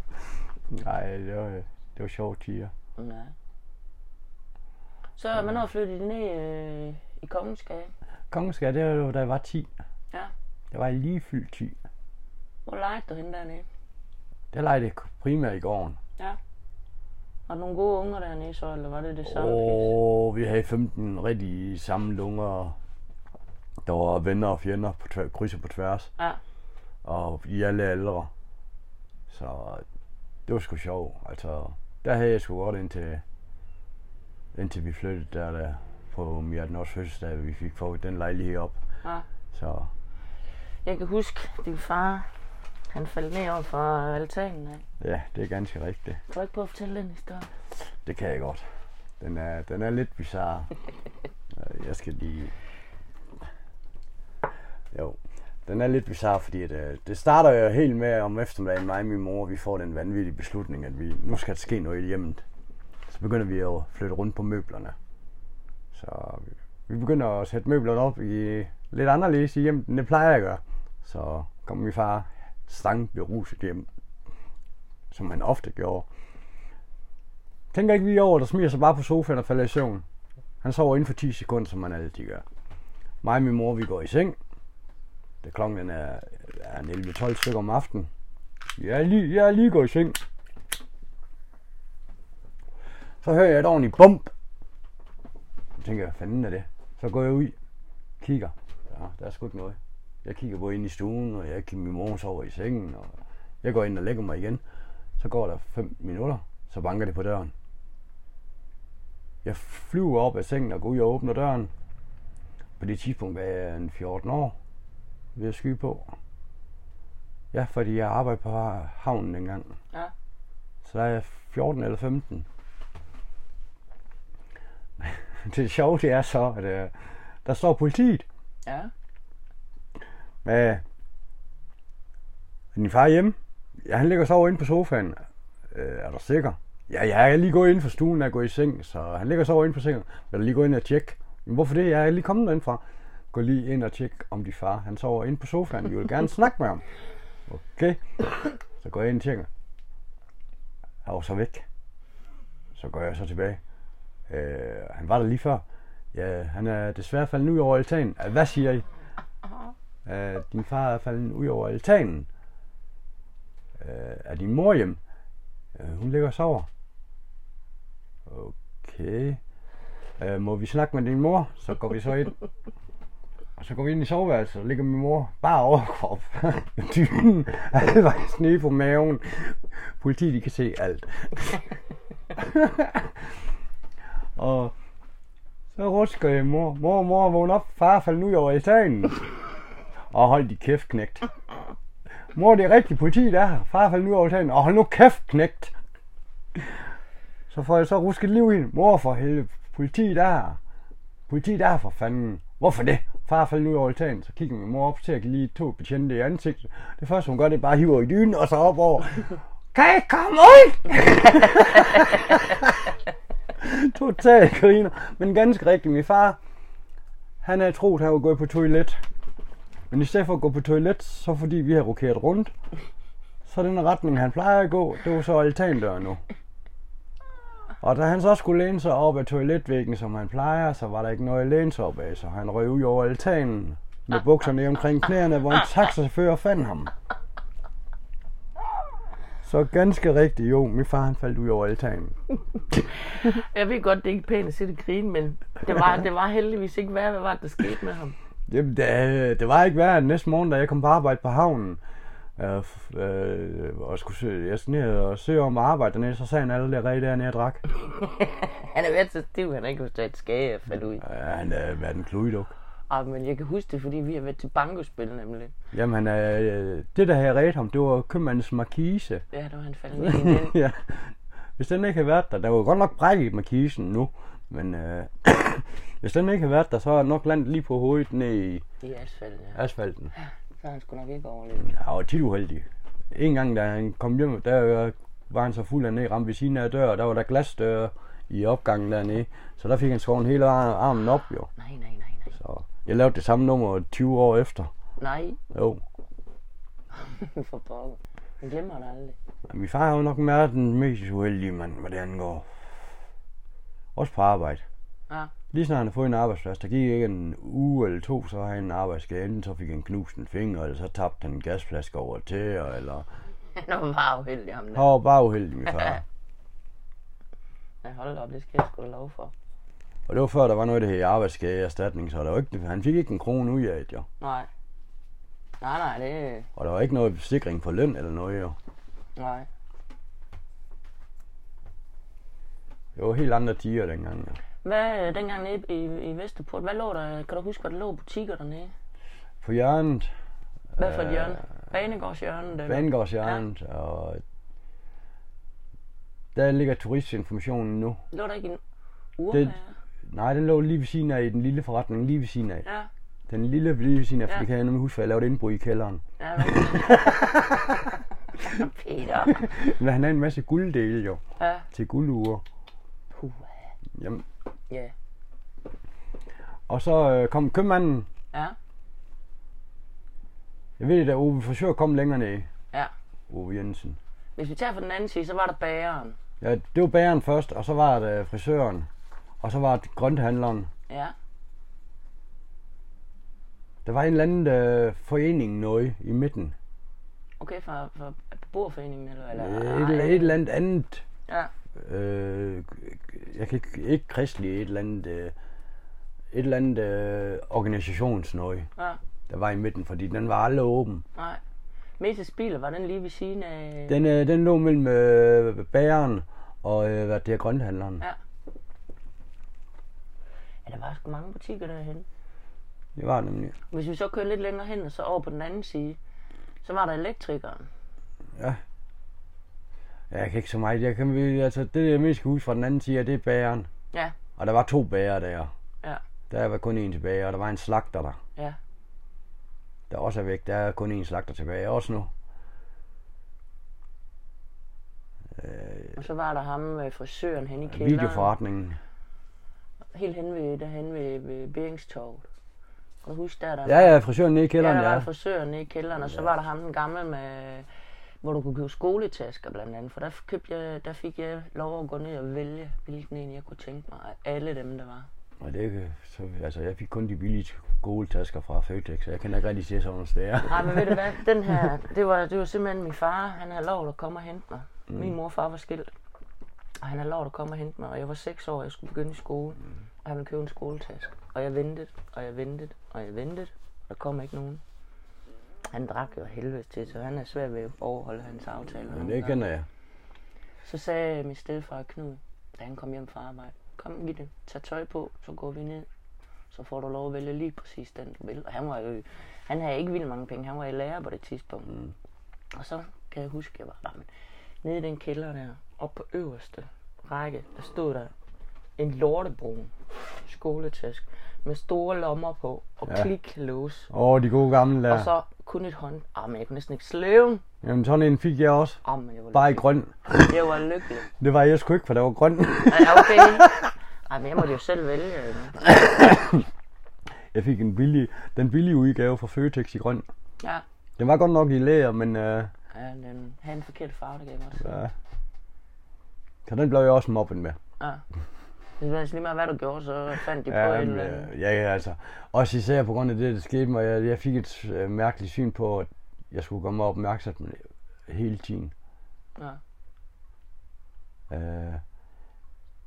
nej, det var, det var sjovt tiger. Mm, Ja. Så hvornår flyttede de ned øh, i Kongensgade? Kongensgade, det var jo, da jeg var 10. Ja. Det var jeg lige fyldt 10. Hvor legede du henne dernede? Der legede jeg primært i gården. Var der nogle gode unger dernede så, eller var det det samme? pis? Og vi havde 15 rigtig samme lunger. Der var venner og fjender på tvæ- kryds og på tværs. Ja. Og i alle aldre. Så det var sgu sjovt. Altså, der havde jeg sgu godt indtil, indtil vi flyttede der, der på Mjerten Års fødselsdag, vi fik fået den lejlighed op. Ja. Så Jeg kan huske, din far, han faldt ned over fra altanen af. ja, det er ganske rigtigt. Prøv ikke på at fortælle den historie. Det kan jeg godt. Den er, den er lidt bizarre. Øh, jeg skal lige... Jo, den er lidt bizarre, fordi at, øh, det starter jo helt med om eftermiddagen, mig og min mor, vi får den vanvittige beslutning, at vi, nu skal der ske noget i hjemmet. Så begynder vi at flytte rundt på møblerne. Så vi, vi begynder at sætte møblerne op i lidt anderledes i hjemmet, end det plejer at gøre. Så kom min far stang beruset hjem, som han ofte gjorde. Tænker ikke lige over, der smiger sig bare på sofaen og falder i søvn. Han sover inden for 10 sekunder, som han altid gør. Mig og min mor, vi går i seng. Det klokken den er, er en 11-12 stykker om aftenen. Jeg er lige, jeg er lige gået i seng. Så hører jeg et ordentligt bump. Jeg tænker, hvad fanden er det? Så går jeg ud, kigger. Ja, der er sgu ikke noget. Jeg kigger både ind i stuen, og jeg kigger min mor hun sover i sengen, og jeg går ind og lægger mig igen. Så går der 5 minutter, så banker det på døren. Jeg flyver op af sengen og går ud og åbner døren. På det tidspunkt var jeg en 14 år ved at skyde på. Ja, fordi jeg arbejdede på havnen engang. Ja. Så der er jeg 14 eller 15. (laughs) det sjove det er så, at øh, der står politiet Ja. med din far hjemme. Ja, han ligger så over inde på sofaen. Øh, er du sikker? Ja, ja, jeg er lige gået ind for stuen og er gået i seng, så han ligger så over inde på sengen. Vil du lige gå ind og tjekke? Men hvorfor det? Jeg er lige kommet derindfra. Gå lige ind og tjek om din far. Han sover inde på sofaen. Vi vil gerne snakke med ham. Okay. Så går jeg ind og tjekker. Han var så væk. Så går jeg så tilbage. Øh, han var der lige før. Ja, han er desværre faldet ud over altanen. "Ah, Hvad siger I? Øh, din far er faldet ud over altanen. Øh, er din mor hjem? Øh, hun ligger og sover. Okay. Øh, må vi snakke med din mor? Så går vi så ind. Og så går vi ind i soveværelset, og ligger min mor bare overkrop. med (laughs) Dynen halvvejs nede på maven. Politiet, de kan se alt. (laughs) og så rusker jeg mor. Mor, mor, vågn op. Far faldt nu over altanen. Og hold de kæft, knægt. Mor, det er rigtigt politi, der er her. Far faldt nu over tagen. Og hold nu kæft, knægt. Så får jeg så rusket liv i hende. Mor, for helvede. Politi, der er her. Politi, der er her, for fanden. Hvorfor det? Far faldt nu over tagen. Så kigger min mor op til at give lige to betjente i ansigtet. Det første, hun gør, det er bare at hiver i dynen og så op over. Kan I komme ud? (laughs) Totalt griner. Men ganske rigtigt, min far, han havde troet, han var gået på toilet. Men i stedet for at gå på toilet, så fordi vi har rokeret rundt, så den retning, han plejer at gå, det var så altandøren nu. Og da han så skulle læne sig op ad toiletvæggen, som han plejer, så var der ikke noget at læne sig op af, så han røg ud over altanen med bukserne ned omkring knæerne, hvor en taxachauffør fandt ham. Så ganske rigtigt, jo, min far han faldt ud over altanen. Jeg ved godt, det er ikke pænt at sidde og grine, men det var, det var heldigvis ikke værd, hvad var det, der skete med ham. Jamen, det, det var ikke værre end næste morgen, da jeg kom på arbejde på havnen. Øh, f- øh, og skulle søge, jeg skulle ned og søge om at arbejde dernede, så sagde han allerede dernede og drak. Han er været så stiv, han ikke kunne stå et skage og falde ud. Øh, han har været en kluduk. Ah, men jeg kan huske det, fordi vi har været til bankospil nemlig. Jamen, han, øh, det der havde reddet ham, det var købmandens markise. (laughs) Ja, der var han faldet ned i den. ja. Hvis den ikke havde været der, der var godt nok bræk i markisen nu, men øh, (coughs) hvis den ikke havde været der, så er nok landet lige på hovedet ned i (laughs) I asfalten, ja. asfalten. Så har han sgu nok ikke overlevet. Han var tit uheldig. En gang, da han kom hjem, der øh, var han så fuld af ned, ramte ved siden af døren, der var der glasdøre i opgangen dernede. Så der fik han skåret hele ar- armen op, jo. Nej, nej, nej, nej. Så jeg lavede det samme nummer 20 år efter. Nej, (laughs) Jo. for pokker. Jeg glemmer det aldrig. Min far er jo nok mere den mest uheldige mand, hvad det angår. Også på arbejde. Ja. Lige snart han har fået en arbejdsplads, der gik ikke en uge eller to, så har han en arbejdsskade. Enten så fik han knust en finger, eller så tabte han en gasflaske over til, eller... Han var bare uheldig, ham Han der. var bare uheldig, min far. Ja, hold da op, det skal jeg sgu da lov for. Og det var før, der var noget, der hed arbejdsskadeerstatning, så der var ikke, han fik ikke en krone ud af det, jo. Nej. Nej, nej, det... Og der var ikke noget sikring for løn eller noget, jo. Nej. Det var helt andre tiger dengang, jo. Hvad, øh, dengang nede i, i Vesterport, hvad lå der, kan du huske, hvad der lå butikker dernede? På hjørnet, Hvad Øh, for et hjørne? Banegårdshjørnet, eller? Banegårdshjørnet, og... Der ligger turistinformationen nu. Lå der ikke en urmær? Den- Nej, den lå lige ved siden af i den lille forretning, lige ved siden af. Ja, Den lille lige ved siden af, for Ja. det kan jeg nemlig huske, for jeg lavede indbrud i kælderen. ja, hvad? (laughs) Peter. Men han havde en masse gulddele jo, Ja, til guldure. puh. Jamen. Ja. Og så øh, kom købmanden. Ja, Jeg ved det der, Ove Forsøger kom længere ned. ja. Ove Jensen. Hvis vi tager fra den anden side, så var der bageren. Ja, det var bageren først, og så var det øh, frisøren. Og så var det grønthandleren. Ja, Der var en eller anden øh, forening noget i midten. okay, fra, fra beboerforeningen, eller? eller Øh, Et, et eller andet andet. Ja, Øh, jeg kan ikke, ikke kristelig, et eller andet, øh, et eller andet øh, organisationsnøje. ja, der var i midten, fordi den var aldrig åben. nej. Metas biler, var den lige ved siden af... Den, øh, den lå mellem øh, bageren og øh, hvad det er, grønthandleren. Ja. Ja, der var sgu mange butikker derhen. Det var det nemlig. Hvis vi så kører lidt længere hen, og så over på den anden side, så var der elektrikeren. Ja, Jeg kan ikke så meget. Jeg kan, altså, det jeg mest kan huske fra den anden side, det er bageren. Ja. Og der var to bager der. Ja. Der var kun en tilbage, og der var en slagter der. Ja. Der også er væk. Der er kun en slagter tilbage også nu. Og så var der ham med frisøren hen i kælderen. Øh, Videoforretningen. Helt hen ved, derhen ved, ved Beringstorvet. Kan du huske, der er der Ja, ja, frisøren nede i ja, kælderen, der var ja. en frisør nede i kælderen, og så var der ham den gamle med, hvor du kunne købe skoletasker blandt andet. For der, f- købte jeg, der fik jeg lov at gå ned og vælge, hvilken en jeg kunne tænke mig af alle dem, der var. Og det, kan- så, altså, jeg fik kun de billige skoletasker fra Føtex, så jeg kan ikke rigtig se sådan nogle steder. (laughs) (laughs) Nej, men ved du hvad? Den her, det var, det var simpelthen min far. Han havde lov at komme og hente mig. Mm. Min mor og far var skilt. Og han havde lov at komme og hente mig. Og jeg var 6 år, og jeg skulle begynde i skole. Mm. Og han ville købe en skoletaske. Og jeg ventede, og jeg ventede, og jeg ventede. Og der kom ikke nogen. Han drak jo af helvede til, så han er svær ved at overholde hans aftaler. Men det kender jeg. Så sagde min stedfar Knud, da han kom hjem fra arbejde, kom Gitte, tag tøj på, så går vi ned. Så får du lov at vælge lige præcis den, du vil. Og han var jo, han havde ikke vildt mange penge, han var i lærer på det tidspunkt. Mm. Og så kan jeg huske, jeg var der, men nede i den kælder der, oppe på øverste række, der stod der en lortebrun skoletask med store lommer på og ja. Ja. kliklås. Åh, de gode gamle Ja. der. Og så kun et hånd. Ah, men jeg kunne næsten ikke slæve. Jamen sådan en fik jeg også. Ah, men jeg var, Bare i lykkelig. grøn. jeg var lykkelig. Det var jeg sgu ikke, for der var grøn. Ja, okay. Ej, men jeg måtte jo selv vælge. jo. Jeg fik en billig, den billige udgave fra Føtex i grøn. Ja. Den var godt nok i læger, men øh, Ja, den havde en forkert farve, det kan jeg godt se. ja. så den blev jeg også mobbet med. Ja. Det var altså lige meget, hvad du gjorde, så fandt de på et Jamen, eller andet. øh, ja, ja, altså. Også især på grund af det, der skete mig. Jeg, jeg fik et øh, mærkeligt syn på, at jeg skulle gøre mig opmærksom hele tiden. Ja. Øh,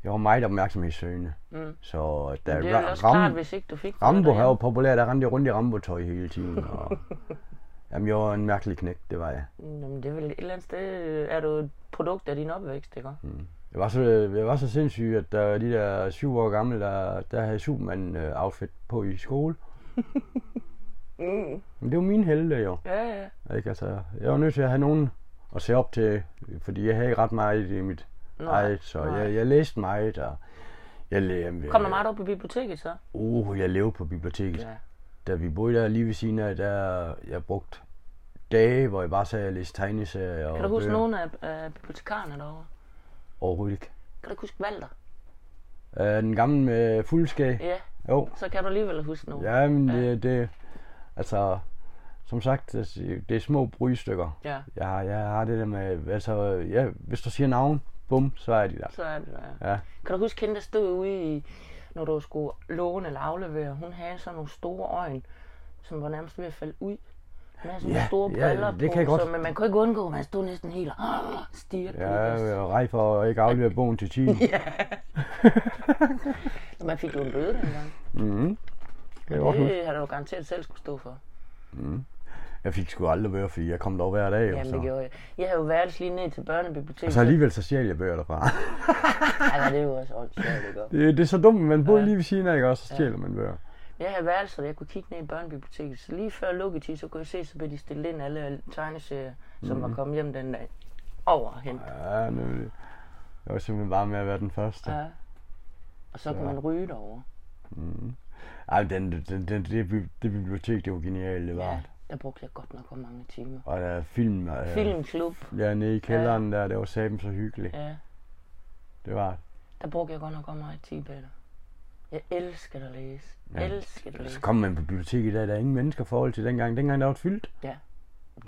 Jeg var meget opmærksomhedssøgende. Mm. Så da Det er jo Ra- også Ram- klart, hvis ikke du fik noget Rambo han derhjemme. var populær, der rendte jeg rundt i Rambo-tøj hele tiden. (laughs) Og... Jamen, jeg var en mærkelig knæk, det var jeg. Jamen, det er vel et eller andet sted, øh, er du et produkt af din opvækst, ikke? Mm. Jeg var så, jeg var så sindssyg, at der, de der syv år gamle, der, der havde Superman-outfit på i skole. (laughs) Mm. Men det var min helte, jo. Ja, ja. Ikke? Altså, jeg var nødt til at have nogen at se op til, fordi jeg havde ikke ret meget i mit Nej, eget, så nej. jeg, jeg læste meget, og jeg, jeg, Kom du meget op på biblioteket, så? Uh, jeg levede på biblioteket. Ja. Da vi boede der lige ved siden af, der jeg brugte dage, hvor jeg bare sad og læste tegneserier og Kan du huske bøger. nogen af, af bibliotekarerne derovre? Overhovedet ikke. Kan du ikke huske Walter? Øh, den gamle med fuldskæg. Ja, Jo, så kan du alligevel huske nogen. ja, men det, det, altså, som sagt, altså, det, det er små brystykker. ja. Jeg, har- jeg har det der med, altså, ja, hvis du siger navn, bum, så er de der. Så er det, ja. Ja. Kan du huske hende, der stod ude i, når du skulle låne eller aflevere? Hun havde sådan nogle store øjne, som var nærmest ved at falde ud. Hun havde sådan Ja, nogle store ja, briller det på, kan jeg godt- Så, men man kunne ikke undgå, at man stod næsten helt og stirrede på Ja, det. jeg er rej for at ikke aflevere bogen (laughs) til tiden. Og Man fik jo en bøde dengang. Mm-hmm. Kan jeg, godt huske. Det har du garanteret selv skulle stå for. jeg fik sgu aldrig bøger, fordi jeg kom der hver dag. Jamen, Jamen, det så. gjorde jeg. Jeg havde jo værelse lige ned til børnebiblioteket. så alligevel så sjæl jeg bøger derfra. (laughs) Ej, nej, det er jo også åndssvagt, ikke? det, det, er så dumt, man boede Ja. ja. lige ved siden af, ikke? og så stjæler ja. man bøger. Jeg havde værelser, der jeg kunne kigge ned i børnebiblioteket. Så lige før lukketid, så kunne jeg se, så blev de stillet ind alle tegneserier, som Mhm. var kommet hjem den dag. Over hen. Ja, nemlig. Jeg var simpelthen bare med at være den første. Ja. Ja. Og så kunne man ryge derovre. Ej, den, den, den, det, bi- det bibliotek, det var genialt, det var. Ja, Ja. der brugte jeg godt nok for mange timer. Og der er film, og, øh, Filmklub. ja, nede i kælderen der, det var sammen så hyggeligt. Ja. Ja, Det var det. der brugte jeg godt nok godt meget tid, Peter. Jeg elsker at læse. Ja. Ja. Elsker at læse. Så kom man på biblioteket i dag, der er ingen mennesker i forhold til dengang. Dengang der var det fyldt. Ja.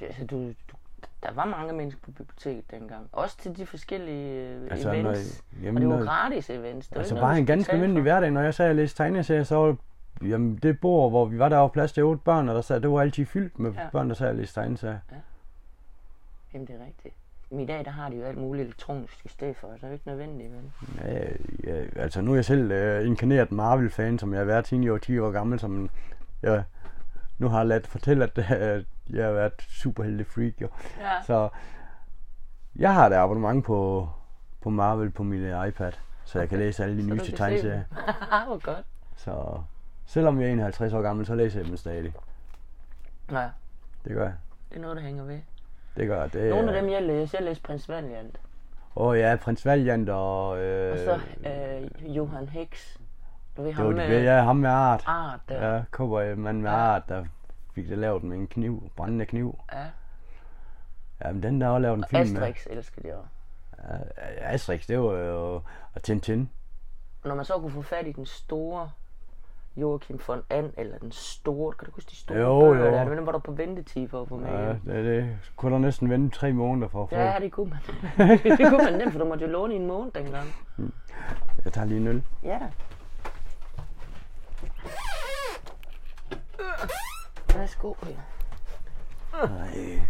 Det- Altså, du, du, der var mange mennesker på biblioteket dengang. Også til de forskellige øh, Altså, altså, når- events. jamen, og det var når- gratis events. Det var Altså ikke noget, bare du en skulle ganske betale almindelig for. hverdag, når jeg sad og læste tegneserier, så var jamen, det bord, hvor vi var, der var plads til otte børn, og der sad, det var altid fyldt med Ja. ja. børn, der sad og læste tegneserier. Jamen, det er rigtigt. Men i dag, der har de jo alt muligt elektronisk i stedet for, så det er jo ikke nødvendigt, vel? Ja, ja, altså nu er jeg selv øh, inkarneret Marvel-fan, som jeg har været siden jeg var 10 år gammel, som jeg nu har ladt fortælle, at (laughs) øh, jeg har været superheldig freak. Jo. Ja. Så jeg har et abonnement på, på Marvel på min øh, iPad, så jeg kan læse alle de du nyeste kan se dem. (laughs) tegneserier. Hvor godt. Så selvom jeg er 51 år gammel, så læser jeg dem stadig. Nej, Det gør jeg. det er noget, der hænger ved. Det gør jeg. Det, Nogle er- af dem, jeg læser, jeg læste Prins Valiant. Åh oh, ja, prins Valiant og... Øh, Og så øh, Johan Hicks. Du ved det ham var de, med ja, ham med art. art der. Ja. Ja, kobber mand med Ja. art, der fik det lavet med en kniv, brændende kniv. ja. Jamen, den der har lavet en film Asterix elsker de også. med. Ja, Asterix, det var jo... Og Tintin. Og når man så kunne få fat i den store Joachim von And, eller den store, kan du huske de store Jo, bøger jo. der? Dem var der på ventetid for at få med. Ja, Ja. det, det kunne du næsten vente tre måneder for at få. Ja, det kunne (laughs) man. (laughs) det kunne man nemt, for du måtte jo låne i en måned dengang. Jeg tager lige en øl. Ja da. Værsgo, Peter. Nej.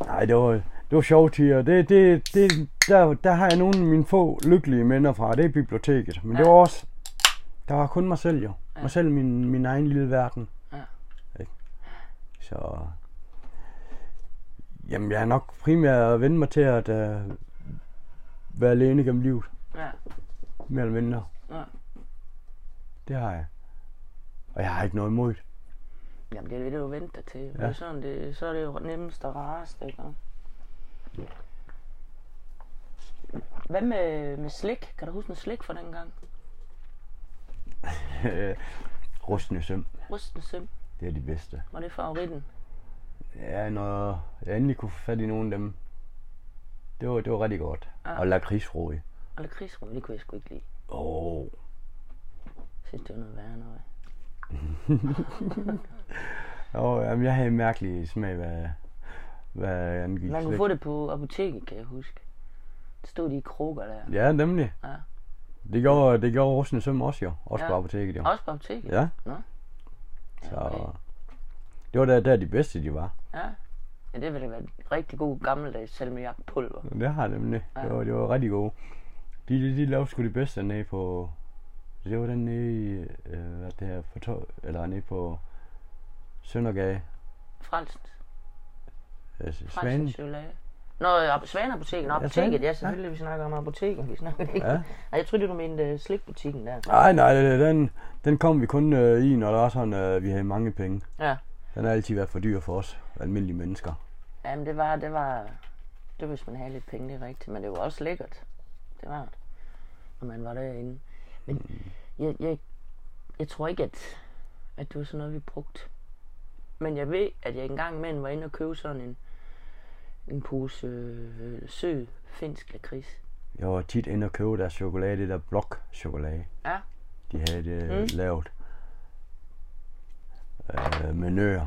Nej, det var, det var sjovt, Tia. Det, det, det, der, der har jeg nogle af mine få lykkelige minder fra. Det er biblioteket. Men ja. det Ja. var også... Der var kun mig selv jo. Ja. Mig selv, min, min egen lille verden. Ja. Ikke? Så... Jamen, jeg har nok primært vendt mig til at øh, være alene gennem livet. Ja. Mere eller mindre. Ja. Det har jeg. Og jeg har ikke noget imod (laughs) det. Jamen, det er det, du venter til. Ja. Det er sådan, det, så er det jo nemmest og rarest, ikke? Hvad med, med slik? Kan du huske en slik fra dengang? Rustende øh, søm, Rusten Sim, det er de bedste. var det favoritten? Ja, når jeg endelig kunne få fat i nogle af dem, det var, det var rigtig godt. Ja. Ja. Og lakridsrode. Og lakridsrum, det kunne jeg sgu ikke lide. Åh, oh, Jeg synes, det var noget værre noget. oh, jamen, jeg havde en mærkelig smag, hvad, hvad angik Man kunne slik. få det på apoteket, kan jeg huske. Der stod de i krukker der. Ja, nemlig. Ja. Det gjorde, det gjorde Rosne Søm også jo, også Ja. Ah. ja. på apoteket jo. Også på apoteket? Ja, Nå? så okay. det var der, der de bedste de var. Ja. ja det ville da være en rigtig god gammeldags salmiakpulver. Det har jeg nemlig. Ja. Det var, det var rigtig gode. De, de, de lavede sgu det bedste nede på... Det var den nede, øh, hvad det her, på tog, eller nede på Søndergade. Frelst. Altså, Svane. Frelsens chokolade. Nå, øh, Svaneapoteket. Nå, apoteket. Svane. Ja, selvfølgelig, vi snakker om apoteket. Vi snakker ikke. Ja. Nej, jeg tror, det du mente øh, slikbutikken der. Nej, nej, det- det- den, den kom vi kun øh, i, når der er sådan, øh, vi havde mange penge. Ja. Den har altid været for dyr for os, almindelige mennesker. Jamen, det var, det var, det var, hvis man havde lidt penge, det er rigtigt, men det var også lækkert. Det var det, når man var derinde. Men jeg, jeg, jeg tror ikke, at, at det var sådan noget, vi brugte. Men jeg ved, at jeg engang imellem var inde og købe sådan en, en pose øh, sød finsk lakrids. Jeg var tit inde og købe deres chokolade, det der blok chokolade. Ja. De havde det mm. lavet øh, med nører.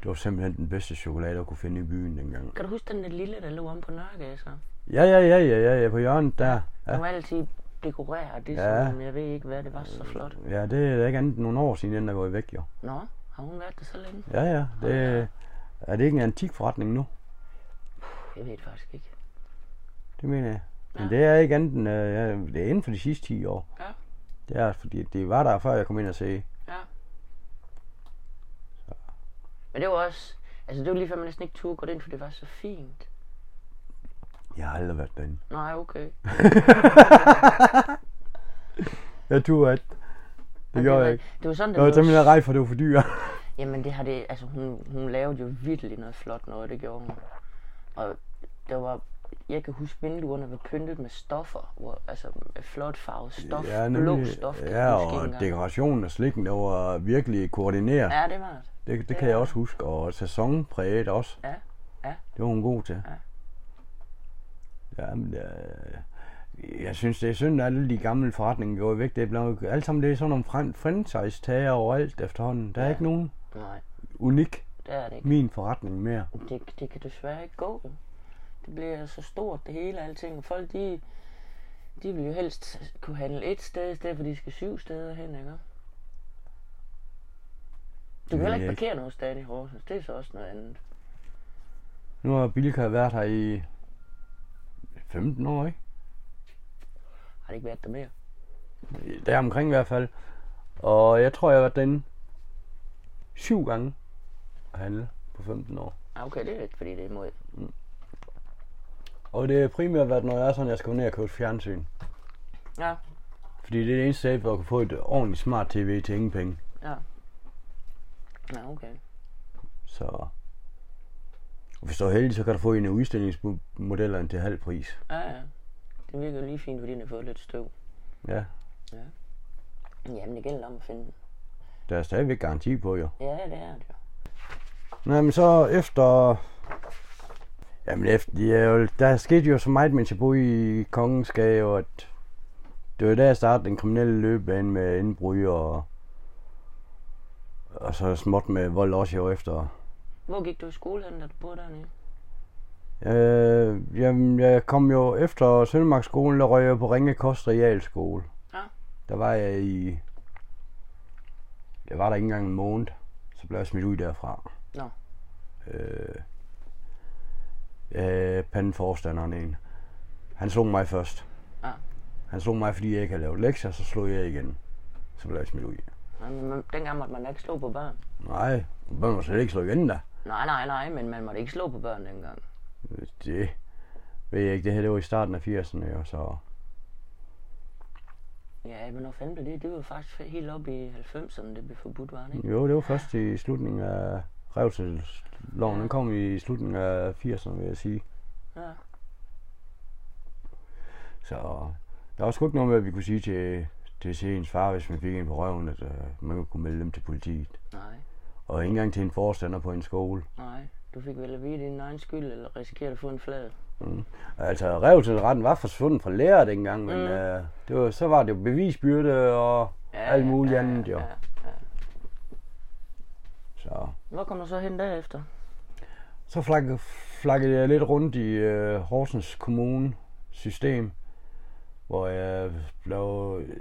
Det var simpelthen den bedste chokolade, jeg kunne finde i byen dengang. Kan du huske den der lille, der lå om på Nørregade så? Ja, ja, ja, ja, ja, ja på hjørnet der. Den Ja, var altid dekoreret, det Ja. ja. som, jeg ved ikke, hvad det var så flot. ja det er da ikke andet end nogle år siden, den er gået væk, jo. Nå, har hun været der så længe? Ja, ja, det, er det ikke en antik forretning nu? Jeg ved det faktisk ikke. Det mener jeg. Men det er ikke andet end, øh, ja, det er inden for de sidste 10 år. Ja. Det er, fordi det var der, før jeg kom ind og sagde, Ja. Men det var også... Altså, det var lige før, man næsten ikke turde gå ind, for det var så fint. jeg har aldrig været (laughs) derinde. Nej, okay. Jeg turde ikke. Det gjorde jeg ikke. Det var sådan, det Jeg var blev- simpelthen rej for, det var for dyr. Jamen, det har det... Altså, hun, hun lavede jo virkelig noget flot noget, det gjorde hun. Og det var... Jeg kan huske, vinduerne var pyntet med stoffer. Hvor, altså, med flot farvet stof. Ja, blå stof, kan ja, jeg huske og ikke engang. dekorationen af slikken, der var virkelig koordineret. Ja. Ja, det var det. Det, det, kan jeg også huske, og sæsonpræget også. Ja, ja. Det var hun god til. Ja. Jamen, øh, jeg synes, det er synd, at alle de gamle forretninger går væk. Det er blevet, alt sammen det er sådan nogle fran- franchise-tager overalt efterhånden. Der er ja. ikke nogen Nej, unik det er det ikke. min forretning mere. det, det kan desværre ikke gå. jo. Det bliver så stort det hele og alting. Folk de, de vil jo helst kunne handle et sted, i stedet for de skal syv steder hen, ikke? Du kan ved heller jeg ikke ikke. parkere nogen steder i Horsens. Det er så også noget andet. Nu har Bilka været her i 15 år, ikke? Har det ikke været der mere? Der omkring i hvert fald. Og jeg tror, jeg har været derinde syv gange at handle på 15 år. Ah, okay, det er ikke, fordi det er imod. Og det er primært været, når jeg er sådan, jeg skal ned og købe et fjernsyn. Ja, Fordi det er det eneste sted, hvor jeg kan få et ordentligt smart tv til ingen penge. ja. Ja, okay. Så... Og hvis du er heldig, så kan du få en af udstillingsmodellerne til halv pris. Ja, ja. Det virker jo lige fint, fordi den har fået lidt støv. Ja, Jamen, det gælder om at finde den. der er stadigvæk garanti på, jo. Ja, det er det jo. Nej, men så efter... Jamen efter, ja, der skete jo så meget, mens jeg boede i Kongensgave, at det var der, jeg startede den kriminelle løbebane med indbrud og, og så småt med vold også jo efter. Hvor gik du i skole hen, da du boede dernede? Øh, jamen, jeg kom jo efter Søndermarksskolen, der røg jeg på Ringe Kost Realskole. Ja. Der var jeg i... Jeg var der ikke engang en måned, så blev jeg smidt ud derfra. Nå. Øh, øh, pandenforstanderen en. Han slog mig først. Ja. Han slog mig, fordi jeg ikke havde lavet lektier, så slog jeg igen. Så blev jeg smidt ud. Nej, men man- dengang måtte man da ikke slå på børn. Nej, man må slet ikke slå igen da. Nej, nej, nej, men man måtte ikke slå på børn dengang. Det ved jeg ikke, det her det var i starten af 80'erne jo, så... Ja, men når fanden blev det? Det var jo faktisk helt op i 90'erne, det blev forbudt, var det ikke? Jo, det var først i slutningen af revselsloven. Den kom i slutningen af 80'erne, vil jeg sige. Ja. Så der var sgu ikke noget med, at vi kunne sige til, til ens far, hvis man fik en på røven, at øh, man kunne melde dem til politiet. Nej, Og ikke engang til en forstander på en skole. nej. Du fik vel at vide, det er din egen skyld, eller risikerer at få en flade. Altså, revselsretten var forsvundet fra lærer dengang, men øh, det var, så var det jo bevisbyrde og ja, alt muligt ja, andet jo. Ja. ja. Så, Hvor kom du så hen derefter? så flak, flakkede jeg lidt rundt i øh, Horsens Kommune system, hvor jeg blev, øh,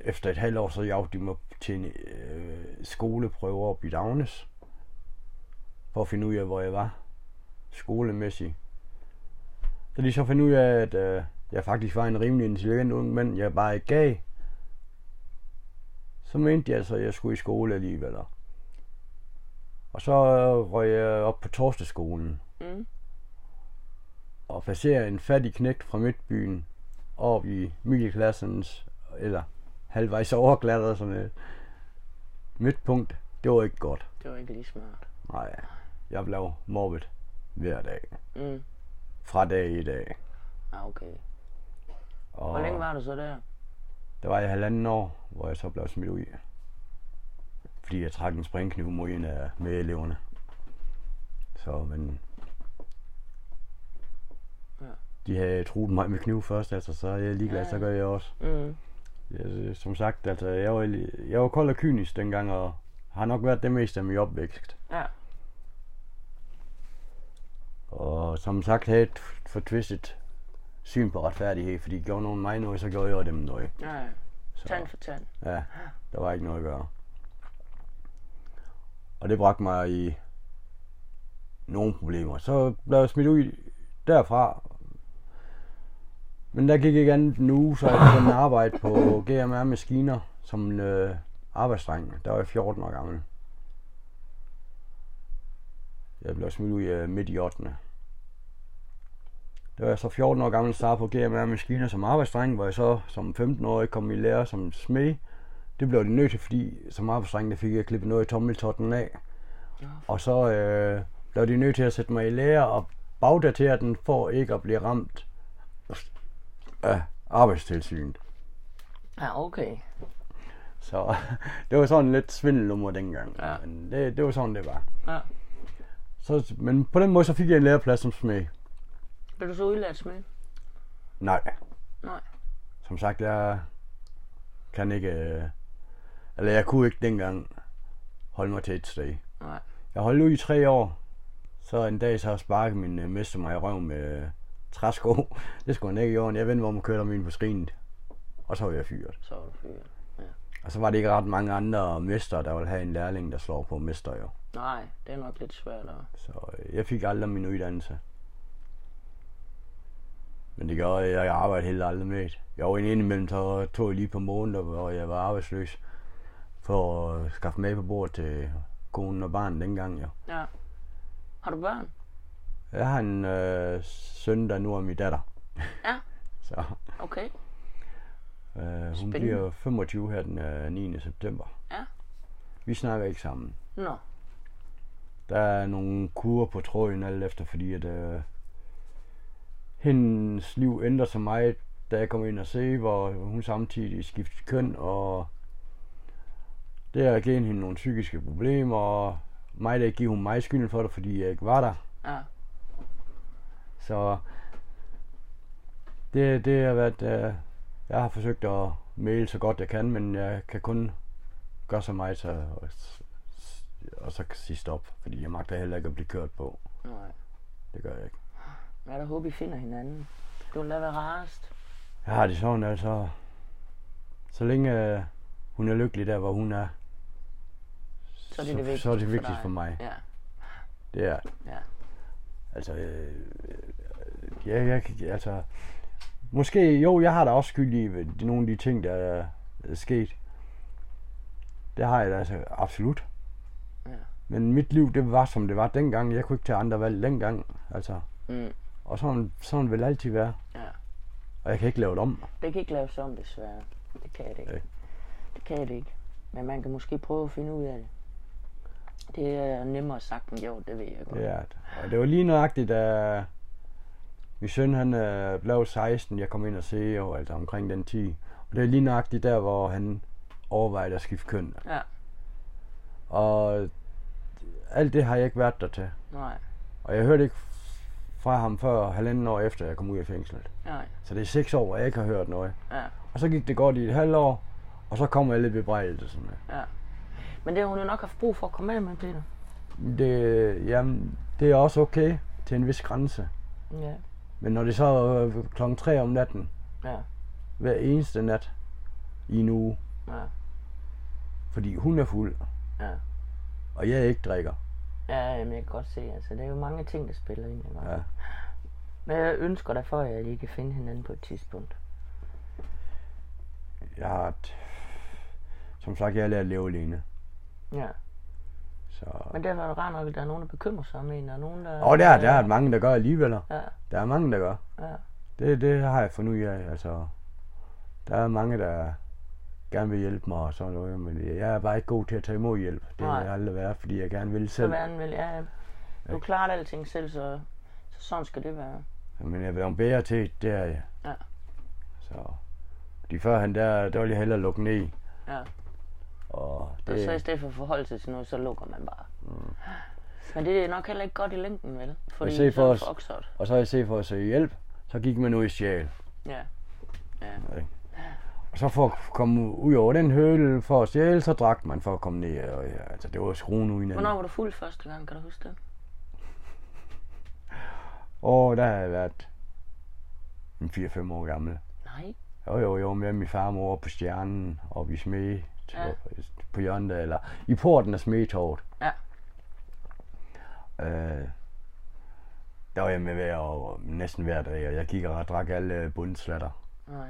efter et halvt år, så jagte de mig til en øh, skoleprøve op i Dagnes, for at finde ud af, hvor jeg var skolemæssigt. Da de så fandt ud af, at øh, jeg faktisk var en rimelig intelligent ung mand, jeg bare ikke gav, så mente jeg så, at jeg skulle i skole alligevel. Og så øh, røg jeg op på torsdagsskolen Mm. og placerede en fattig knægt fra midtbyen op i middelklassens, eller halvvejs overklatter som et midtpunkt. Det var ikke godt. Det var ikke lige smart. Nej, jeg blev mobbet hver dag. Mm. Fra dag i dag. Ah, okay. Og Hvor længe var du så der? Der var jeg halvanden år, hvor jeg så blev smidt ud. Fordi jeg trak en springkniv mod en af medeleverne. Så, men... Ja. De havde truet mig med kniv først, altså, så er jeg ligeglad, Ja, så ja. gør jeg også. Mm. Jeg, som sagt, altså, jeg var, jeg var kold og kynisk dengang, og har nok været det meste af min opvækst. Ja. Og som sagt havde et fortvistet syn på retfærdighed, fordi gjorde nogen mig noget, så gjorde jeg dem noget. Ja, ja. Så. Tand for tand. Ja, der var ikke noget at gøre. Og det bragte mig i nogle problemer. Så blev jeg smidt ud derfra. Men der gik ikke andet nu, så jeg begyndte at arbejde på GMR Maskiner som øh, arbejdsdreng. Der var jeg 14 år gammel. Jeg blev smidt ud øh, midt i 8. Der var jeg så 14 år gammel, startede på GMR Maskiner som arbejdsdreng, hvor jeg så som 15-årig kom i lære som smed. Det blev de nødt til, fordi som arbejdsdreng, der fik jeg klippet noget i tommeltotten af. Og så øh, blev de nødt til at sætte mig i lære og bagdatere den, for ikke at blive ramt af arbejdstilsynet. Ja, okay. Så (laughs) det var sådan lidt svindelnummer dengang. Ja. Men det, det var sådan, det var. Ja. Så, men på den måde, så fik jeg en læreplads som smed. Blev du så udlært med? Nej. Nej. Som sagt, jeg kan ikke... øh, Eller jeg kunne ikke dengang holde mig til et sted. Nej. Jeg holdt ud i tre år. Så en dag så sparkede min øh, mester mig i røven med øh, træsko. (laughs) Det skulle han ikke i orden. Jeg vendte mig om og kørte om ind på skrinet. Og så var jeg fyret. Så var du fyret. Og så var det ikke ret mange andre mester, der ville have en lærling, der slår på mester jo. Nej, det er nok lidt svært at... Så øh, jeg fik aldrig min uddannelse. Men det gør, at jeg arbejdede heller aldrig med det. Jeg var indimellem, så tog jeg lige på måneder, hvor jeg var arbejdsløs, for at skaffe med på bordet til konen og barnet dengang. Jo. Ja. Har du børn? Jeg har en øh, søn, der nu er min datter. Ja. (laughs) så Okay. øh, hun Spændende. bliver 25 her den øh, 9. september. Ja. Vi snakker ikke sammen. Nå. Der er nogle kurver på tråden alt efter, fordi at øh, hendes liv ændrer sig meget, da jeg kommer ind og se, hvor hun samtidig skifter køn, og det har givet hende nogle psykiske problemer, og mig der giver hun mig skylden for det, fordi jeg ikke var der. Ja. Så det, det har været, øh, jeg har forsøgt at maile så godt jeg kan, men jeg kan kun gøre så meget, så, og, og så sige stop, fordi jeg magter heller ikke at blive kørt på. Nej. Det gør jeg ikke. Men jeg da håber, I finder hinanden. Du vil da være rarest. Jeg har det sådan, altså, så længe øh, hun er lykkelig der, hvor hun er, Så er det det vigtigste så er det for vigtigst dig. for mig. Ja. Det er det. Ja. Altså, øh, øh, ja, jeg, kan- altså, måske, jo, jeg har da også skyld i ved de- nogle af de ting, der er er sket. Det har jeg da altså, absolut. Ja. Men mit liv, det var, som det var dengang. Jeg kunne ikke tage andre valg dengang, altså. Mm. Og sådan, sådan vil det altid være. Ja. Og jeg kan ikke lave det om. Det kan ikke laves om, desværre. Det kan det ikke. Nej. Det kan det ikke. Men man kan måske prøve at finde ud af det. Det er nemmere sagt end gjort, det ved jeg godt. Det er det. Og det var lige nøjagtigt, da min søn han øh, blev 16, jeg kom ind og se, og altså omkring den 10. Og det er lige nøjagtigt der, hvor han overvejede at skifte køn. Ja. Og alt det har jeg ikke været der til. Nej. Og jeg hørte ikke fra ham før halvanden år efter, jeg kom ud af fængslet. Nej. Så det er seks år, hvor jeg ikke har hørt noget. Ja. Og så gik det godt i et halvt år, og så kommer alle bebrejdelserne. Men det har hun jo nok haft brug for at komme af med, Peter. Det, jamen, det er også okay til en vis grænse. Ja. Men når det så er øh, klokken 3 om natten, Ja. hver eneste nat i en uge, Ja. fordi hun er fuld, Ja. og jeg ikke drikker. Ja, jamen, jeg kan godt se, altså, det er jo mange ting, der spiller ind, ikke? Ja. Men jeg ønsker dig for, at I kan finde hinanden på et tidspunkt. Jeg har, et- som sagt, jeg har lært at leve alene. Ja. Så. Men derfor er det rart nok, at der er nogen, der bekymrer sig om en, og nogen, der... Og der, der er mange, der gør alligevel. Ja, Der er mange, der gør. ja. Det, det har jeg fundet ud af. Altså, der er mange, der gerne vil hjælpe mig og sådan noget, men jeg er bare ikke god til at tage imod hjælp. Det har Nej. jeg aldrig været, fordi jeg gerne vil Så selv. verden vil, ja, ja. Du klarer alting selv, så, så sådan skal det være. Men jeg er blevet bedre til, det er jeg. Ja. Så de førhen, der, der ville jeg hellere lukke ned. Ja. Og Og så i det, stedet for at forholde sig til noget, så lukker man bare. Mm. Men det er nok heller ikke godt i længden, vel? Fordi se så for er os- det fucked. og så i stedet for at søge hjælp, så gik man ud i sjæl. Ja. Og så for at komme ud over den høl for at sjæle, så drak man for at komme ned. Og, ja, altså, det var skruen uden anden. Hvornår var du fuld første gang, kan du huske det? Og der har jeg været en 4-5 år gammel. Nej. Jo, jo, jo, med min far og mor på stjernen, og vi smed til- Ja. på hjørnet, eller i porten af smedtorvet. Ja. Øh, der var jeg med hver, og næsten hver dag, og jeg gik og drak alle bundslatter. Nej.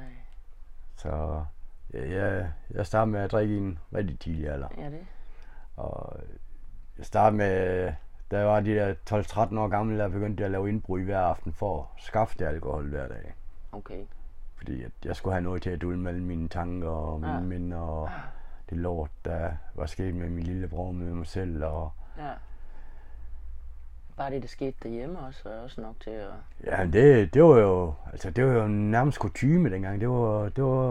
Så jeg, jeg, jeg startede med at drikke i en rigtig tidlig alder. Ja, det. Og jeg startede med, da jeg var de der 12-13 år gammel, der begyndte jeg at lave indbrud hver aften for at skaffe det alkohol hver dag. Okay. Fordi at jeg skulle have noget til at dulme alle mine tanker og mine Ja. ja. minder og Ah. det lort, der var sket med min lillebror med mig selv. Og Ja. Bare det, der skete derhjemme også, er også nok til at... ja, det, det, var jo, altså, det var jo nærmest kutume dengang. Det var, det var,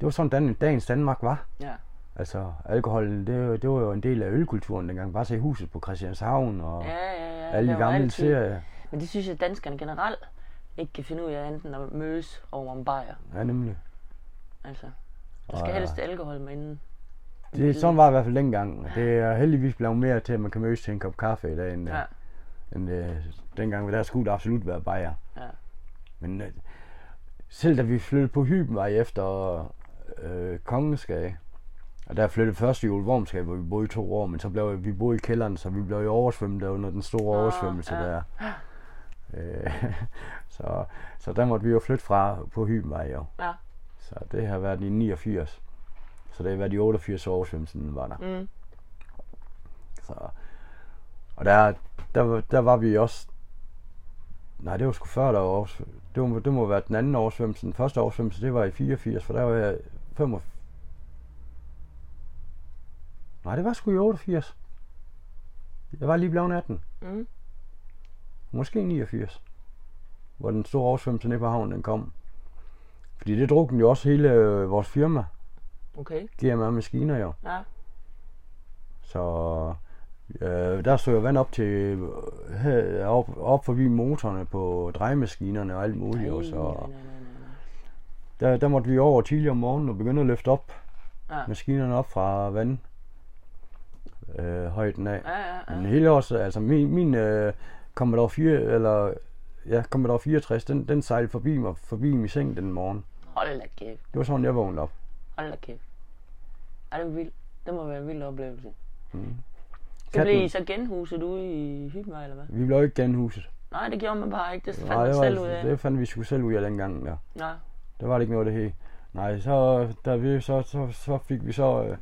det var sådan, Dan- dagens Danmark var. Ja. Altså, alkoholen, det, det var jo en del af ølkulturen dengang. Bare se huset på Christianshavn og ja, Ja, ja, ja. alle der de var gamle altid- serier. Men det synes jeg, at danskerne generelt ikke kan finde ud af enten at mødes over en bajer. Ja, nemlig. Altså, der Og skal ja. helst alkohol med inden. Det, sådan var det i hvert fald dengang. Ah. og Det er heldigvis blevet mere til, at man kan mødes til en kop kaffe i dag, end, Ja. ja. end øh, dengang, der skulle det absolut være bajer. Ja. Men øh, selv da vi flyttede på Hybenvej efter øh, Kongensgade, og der flyttede først i Ulvormskab, hvor vi boede i to år, men så blev vi boede i kælderen, så vi blev jo oversvømmet der under den store Nå, oversvømmelse ja. der. Øh, (laughs) så, så der måtte vi jo flytte fra på Hybenvej jo. Ja. Så det har været i 89. Så det har været i 88 år, oversvømmelsen var der. Mm. Så, og der, der, var- der var vi også... Nej, det var sgu før der var oversvø- det, må, det må være den anden oversvømmelse. Den første oversvømmelse, det var i 84, for der var jeg 5... Nej, det var sgu i 88. Jeg var lige blevet 18. Mm. Måske i 89. Hvor den store oversvømmelse nede på havnen den kom. Fordi det drog den jo også hele øh, vores firma. Okay. GMR Maskiner jo. Ja. Så øh, der stod jo vand op til øh, her- op, op forbi motorerne på drejemaskinerne og alt muligt. Nej, og så nej, nej, nej, nej. der, der måtte vi over tidligere om morgenen og begynde at løfte op Ja. maskinerne op fra vand øh, højden af. Ja, ja, ja. Men hele års, altså min, min øh, Commodore 4, eller ja, Commodore 64, den, den sejlede forbi mig, forbi min seng den morgen. Hold da kæft. Det var sådan, jeg vågnede op. Hold da kæft. Er det er vildt? Det må være en vild oplevelse. Mm. Så Katten- blev I så genhuset ude i Hybenvej, eller hvad? Vi blev ikke genhuset. Nej, det gjorde man bare ikke. Det fandt Nej, man det, selv ud af. var, det fandt vi sgu selv ud af dengang, ja. Nej. Der var det ikke noget af det hele. Nej, så, der vi, så, så, så fik vi så øh,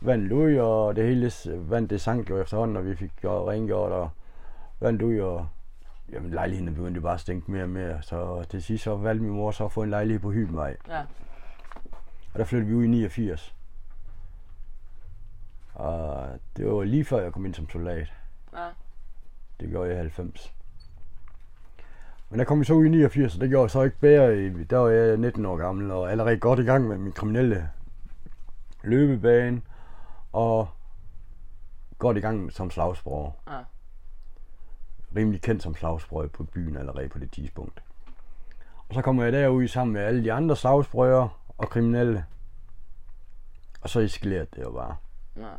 vandet ud, og det hele s- vand det sank jo efterhånden, og vi fik gjort, rengjort og vandet ud, og jamen, lejligheden begyndte bare at stinke mere og mere. Så til sidst så valgte min mor så at få en lejlighed på Hybenvej, Ja. og der flyttede vi ud i 89. Og det var lige før jeg kom ind som soldat. Ja. Det gjorde jeg i 90. Men der kom vi så ud i 89, og det gjorde jeg så ikke bedre. i- Der var jeg 19 år gammel og allerede godt i gang med min kriminelle løbebane. Og godt i gang som slagsbror. Ja. Rimelig kendt som slagsbror på byen allerede på det tidspunkt. Og så kommer jeg derud sammen med alle de andre slagsbrøger og kriminelle. Og så eskalerede det jo bare. Nej.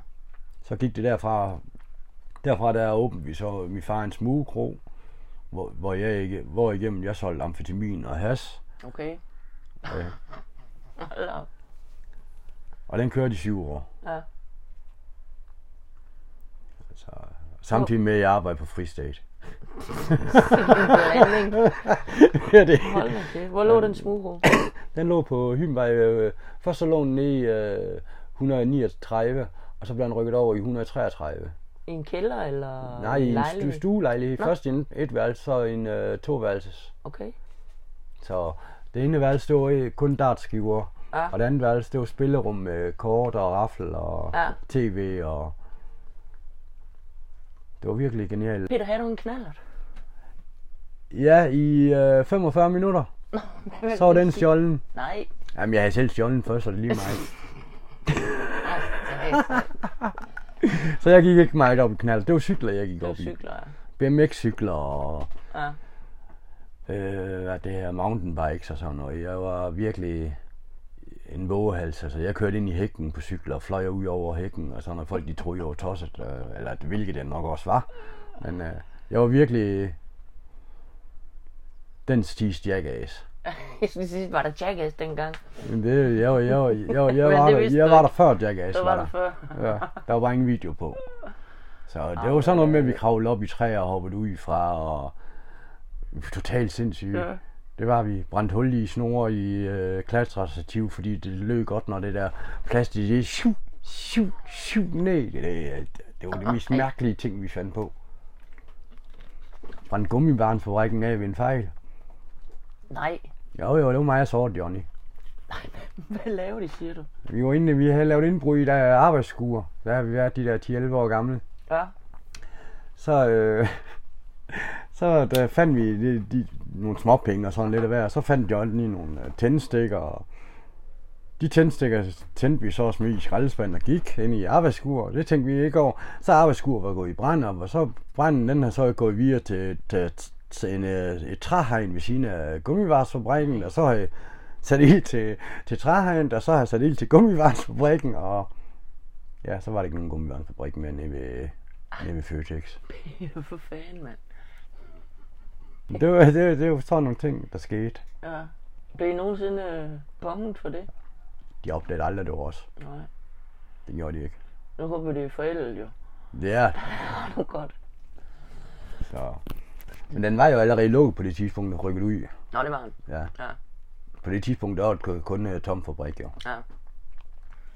Så gik det derfra, derfra der åbnede vi så min far en smugekro, hvor, hvor jeg ikke, hvor igennem jeg solgte amfetamin og has. Okay. Øh, Hold da op. og den kørte i syv år. Ja. Altså, Så, samtidig med, at jeg arbejdede på Free State. Blanding. ja, det. Hold da kæft. Hvor lå den smugro? Den lå på Hymvej. Øh, først så lå den nede i øh, 139, og så blev den rykket over i 133. I en kælder eller Nej, i en stu- lejlighed? stuelejlighed. Først en et værelse, så en øh, toværelses. Okay. Så det ene værelse, det var øh, kun dartskiver. Ja. Og det andet værelse, det var spillerum med kort og raffel og Ja. tv og... Det var virkelig genialt. Peter, havde du en knallert? Ja, i øh, 45 minutter, så var den stjålen. Nej. Jamen, jeg havde selv stjålet den først, så det er lige mig. Så jeg gik ikke meget op i knald. Det var cykler, jeg gik Det var op i. cykler, ja. BMX-cykler og ja. øh, hvad det her mountainbikes og sådan noget. Jeg var virkelig en vågehals. Altså, jeg kørte ind i hækken på cykler og fløj ud over hækken og sådan noget. Folk de troede, jeg var tosset, øh, eller hvilket jeg nok også var. Men øh, jeg var virkelig den stis jackass. (laughs) Jeg skulle sige, var der jackass dengang? Men det, jeg, var- jeg, var- jeg, var- (laughs) jeg, Men var, det der, vidste jeg du var der ikke. før jackass. Der var du før. Ja, der var bare ingen video på. Så det var sådan noget med, at vi kravlede op i træer og hoppede ud fra, og vi var totalt sindssyge. Ja. Det var vi. Brændt hul i snore i øh, klatrestativ, fordi det lød godt, når det der plastik, det sju, sju, sju ned. Det, det, det var det mest mærkelige ting, vi fandt på. Brændt gummibarnsfabrikken af ved en fejl. Nej. Jo, jo, det var mig, jeg så Johnny. (laughs) Hvad laver de, siger du? Vi var inde, vi havde lavet indbrud i der arbejdsskuer. Der har vi været de der 10-11 år gamle. Ja. så, øh, (laughs) så der fandt vi de, de, nogle småpenge og sådan lidt af hver. Så fandt John lige nogle øh, tændstikker. Og de tændstikker tændte vi så også med i skraldespanden og gik ind i arbejdsskur. Det tænkte vi ikke over. Så arbejdsskur var gået i brand, og så branden den har så gået videre til, til, til en, øh, et træhegn ved siden af gummivarsfabrikken, og så har jeg sat ild til, til træhegnet, og så har jeg sat ild til gummivarsfabrikken, og ja, så var der ikke nogen gummivarsfabrik mere nede ved, nede ved Føtex. Peter, (laughs) for fanden, mand. Det var, det, var- det var sådan nogle ting, der skete. Ja. Blev I nogensinde øh, bonget for det? De opdagede aldrig, det var os. Nej. Det gjorde de ikke. Nu håber vi, det er forældet jo. Ja, Nu godt. så. Men den var jo allerede lukket på det tidspunkt, der rykkede ud. (laughs) Nå, det var han. Ja. Ja. På det tidspunkt, der var det kun- kun øh, tom fabrik, jo. Ja.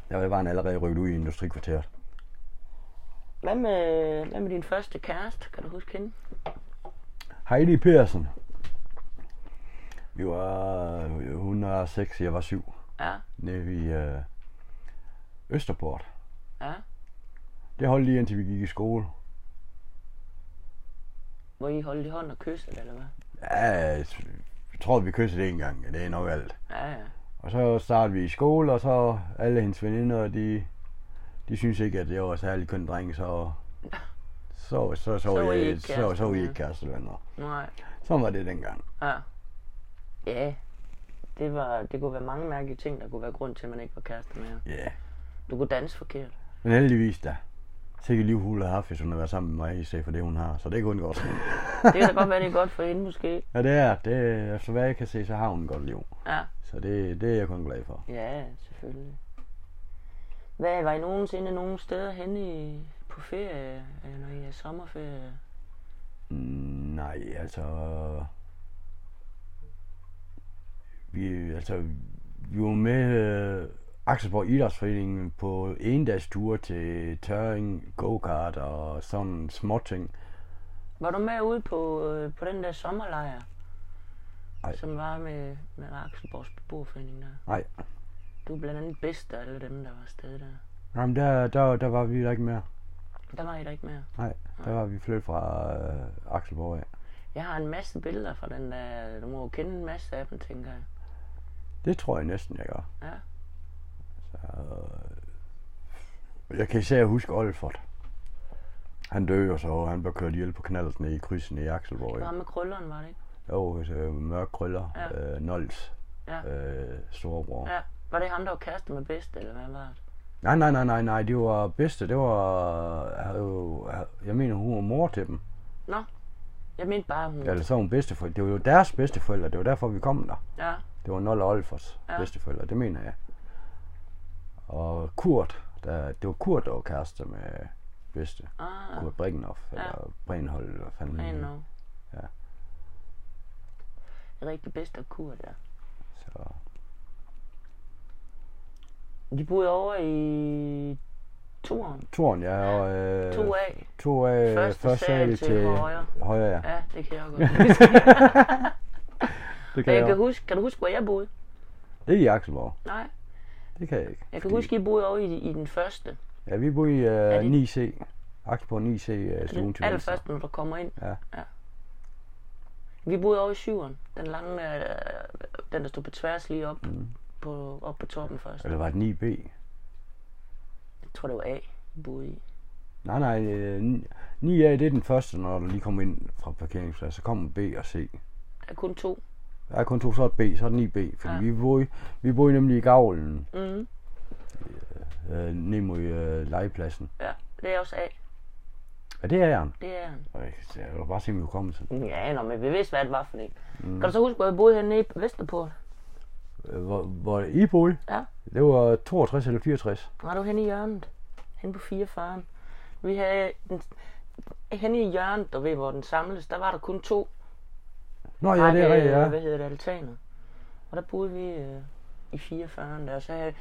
Der var han allerede rykket ud i industrikvarteret. Hvad med, hvad med din første kæreste? Kan du huske hende? Heidi Persen. Vi var, øh, hun var 6, jeg var 7. Ja. Nede i øh, Østerport. Ja. Det holdt lige indtil vi gik i skole. Hvor I holdt i hånd og kyssede, eller hvad? Ja, jeg tror, vi kyssede en gang. Det er nok alt. Ja, ja. Og så startede vi i skole, og så alle hendes veninder, de, de synes ikke, at jeg var særlig køn dreng, så så, så, så, så, var I jeg, ikke så, så var I kærester, ikke kærestevenner. Nej. Sådan var det dengang. Ja. Ja. Det, var, det kunne være mange mærkelige ting, der kunne være grund til, at man ikke var kæreste med jer. Ja. Yeah. Du kunne danse forkert. Men heldigvis da. Sikke liv hun har haft, hvis hun har været sammen med mig, i stedet for det, hun har. Så det er kun (laughs) godt. Det kan da godt være, det er godt for hende måske. ja, det er. Det, efter hvad jeg kan se, så har hun et godt liv. Ja. Så det, det er jeg kun glad for. Ja, selvfølgelig. Hvad, var I nogensinde nogen steder henne i, på ferie, øh, når I er sommerferie? Mm, nej, altså... Vi, altså, vi var med øh, Akselborg Idrætsforeningen på en dags tur til tørring, go-kart og sådan små ting. Var du med ude på, øh, på den der sommerlejr? Ej. Som var med, med Akselborgs beboerforening der. Nej, Du er blandt andet bedst af alle dem, der var afsted der. jamen der, der, der var vi der ikke mere. Der var I da ikke mere. Nej, der var vi flyttet fra øh, Akselborg af. Jeg har en masse billeder fra den der. Du må jo kende en masse af dem, tænker jeg. Det tror jeg næsten, jeg gør. Ja. Og øh, Jeg kan især huske Olfert. Han døde jo så, og han blev kørt ihjel på knallerten i krydsen i Akselborg. Det var med krølleren, var det ikke? Jo, øh, mørk krøller, Ja. ja. øh, Nols, Ja. øh, storebror. Ja. Ja. Var det ham, der var kæreste med bedst, eller hvad var det? Nej, nej, nej, nej, nej, det var bedste, det var, havde jo- havde- jeg mener, hun var mor til dem. Nå. Jeg mente bare, hun... Ja. Eller så var hun bedsteforældre, det var jo deres bedsteforældre, det var derfor, vi kom der. ja. Det var Nol og Olfers Ja. ja. bedsteforældre, det mener jeg. Og Kurt, der, det var Kurt, der var kæreste med bedste. Ah, Kunne være Brickenhoff, Ja. eller Brænhold, eller hvad fanden. rent han hed. nok. Ja. Rigtig bedst at kur der. Så De boede over i toren. Toren, ja, og øh, To af. to af Første første, første sal sal til til, til højre. højre. højre ja. Ja, det kan jeg (laughs) godt. Det Men kan jeg jeg, kan jeg huske, kan du huske, hvor jeg boede? Ikke i Akselborg, Nej, det kan jeg ikke. jeg kan huske, I boede over i, i den første. Ja, vi bor i Er øh, det- 9C. Akselborg 9C øh, stuen Den til venstre. allerførste, når du kommer ind. Ja. Vi boede over i syveren. Den lange, øh, den der stod på tværs lige op, mm. på, op på toppen først. Eller var det 9B? Jeg tror, det var A, vi boede i. Nej, nej, øh, 9A det er den første, når du lige kommer ind fra parkeringspladsen. Så kommer B og C. Der er kun to. Der er kun to, så er det B, så er det 9B. Fordi Ja. ja. vi, boede, vi boede nemlig i gavlen, Mm. øh, ned mod øh, legepladsen. Ja, det er også A. Ja, det er han. Det er han. Og jeg jeg kan bare se min hukommelse. Ja, nå, men vi vidste, hvad det var for en. Mm. Kan du så huske, hvor jeg boede hernede i Vesterport? Øh, Hvor, hvor I boede? Ja. Det var 62 eller 64. Var du henne i hjørnet? Henne på 44. Vi havde den, henne i hjørnet, der ved, hvor den samles, der var der kun to. Nå ja, det er række, rigtigt, ja. Hvad hedder det, altaner. Og der boede vi øh, i 44. Der, og så havde,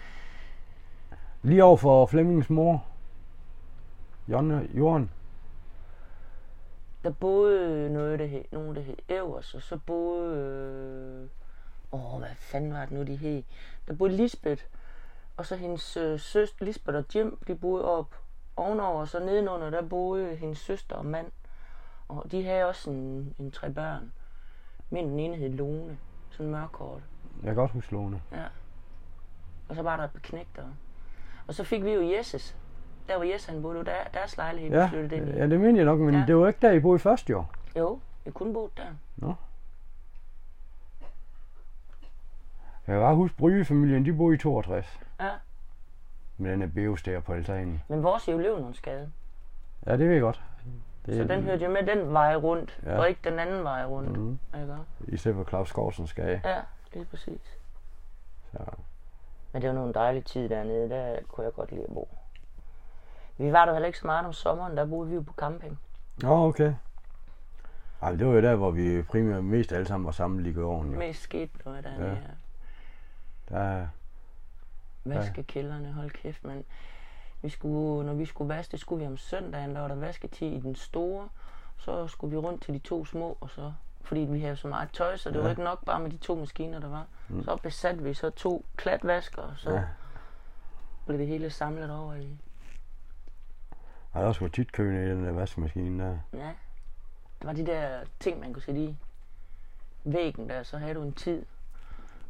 Lige over for Flemmings mor. Jonne, Jorden. der boede øh, noget, der hed, nogen, der hed Evers, og så boede... Øh, åh, hvad fanden var det nu, de hed? Der boede Lisbeth, og så hendes øh, søster, Lisbeth og Jim, de boede op ovenover, og så nedenunder, der boede hendes søster og mand. Og de havde også en, en tre børn. Men den ene hed Lone, sådan mørkort. Jeg kan godt huske Lone. Og så var der et par knægtere. Og så fik vi jo Jesses. Der var Jess, han boede, det var der, deres lejlighed, vi Ja, øh, flyttede ind i. ja, det mener jeg nok, men Ja. ja. det var ikke der, I boede først, jo. Jo, jeg kunne bo der. Jeg kan bare huske, Brygefamilien, de boede i 62. Ja. Med den her beos der på altanen. Men vores er jo Løvenhundsgade. Ja, det ved jeg godt. Det, Så den hørte jo med den vej rundt, ja. Ja. og ikke den anden vej rundt. Mm. Mhm. Ikke? I stedet for Claus Skovsen skal Ja, lige præcis. Så. Men det var nogle dejlige tid dernede, der kunne jeg godt lide at bo. Vi var der heller ikke så meget om sommeren, der boede vi jo på camping. Nå, okay. Ej, men det var jo der, hvor vi primært mest alle sammen var samlet lige i gården, jo. Mest skete noget dernede. Ja. Ja. Der, Vaske kælderne, hold kæft, men vi skulle, når vi skulle vaske, det skulle vi om søndagen, der var der vasketid i den store, så skulle vi rundt til de to små, og så, fordi vi havde så meget tøj, så det ja. var ikke nok bare med de to maskiner, der var. Mm. Så besatte vi så to klatvasker, og så ja. Ja. blev det hele samlet over i, og der skulle tit køne i den der vaskemaskine der. ja, det var de der ting, man kunne sætte i væggen der, så havde du en tid.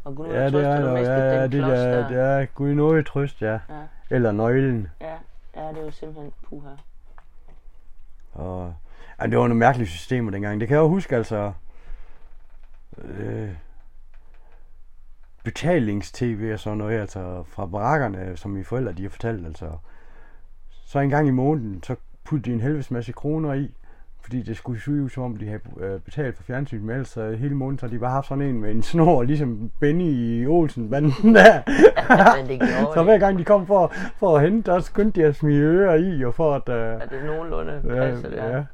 Og kunne Ja, det er du der. mistede Ja, ja, den det klods der, det er gud nåde trøst, ja. Ja. Eller nøglen. Ja, ja, det var simpelthen (laughs) puha. Og, ja, det var nogle mærkelige systemer dengang. Det kan jeg jo huske, altså... Øh, betalings-tv og sådan noget, altså fra barakkerne, som mine forældre de har fortalt, altså. Så en gang i måneden, så puttede de en helvedes masse kroner i, fordi det skulle se ud som om, de havde øh, betalt for fjernsynet, men ellers øh, hele måneden, så har de bare haft sådan en med en snor, ligesom Benny i Olsen, banden der. Men det gjorde (laughs) så det. hver gang de kom for, for at hente, der skyndte de at smide ører i, og for at... Øh, at det nogenlunde passer der. ja, ja.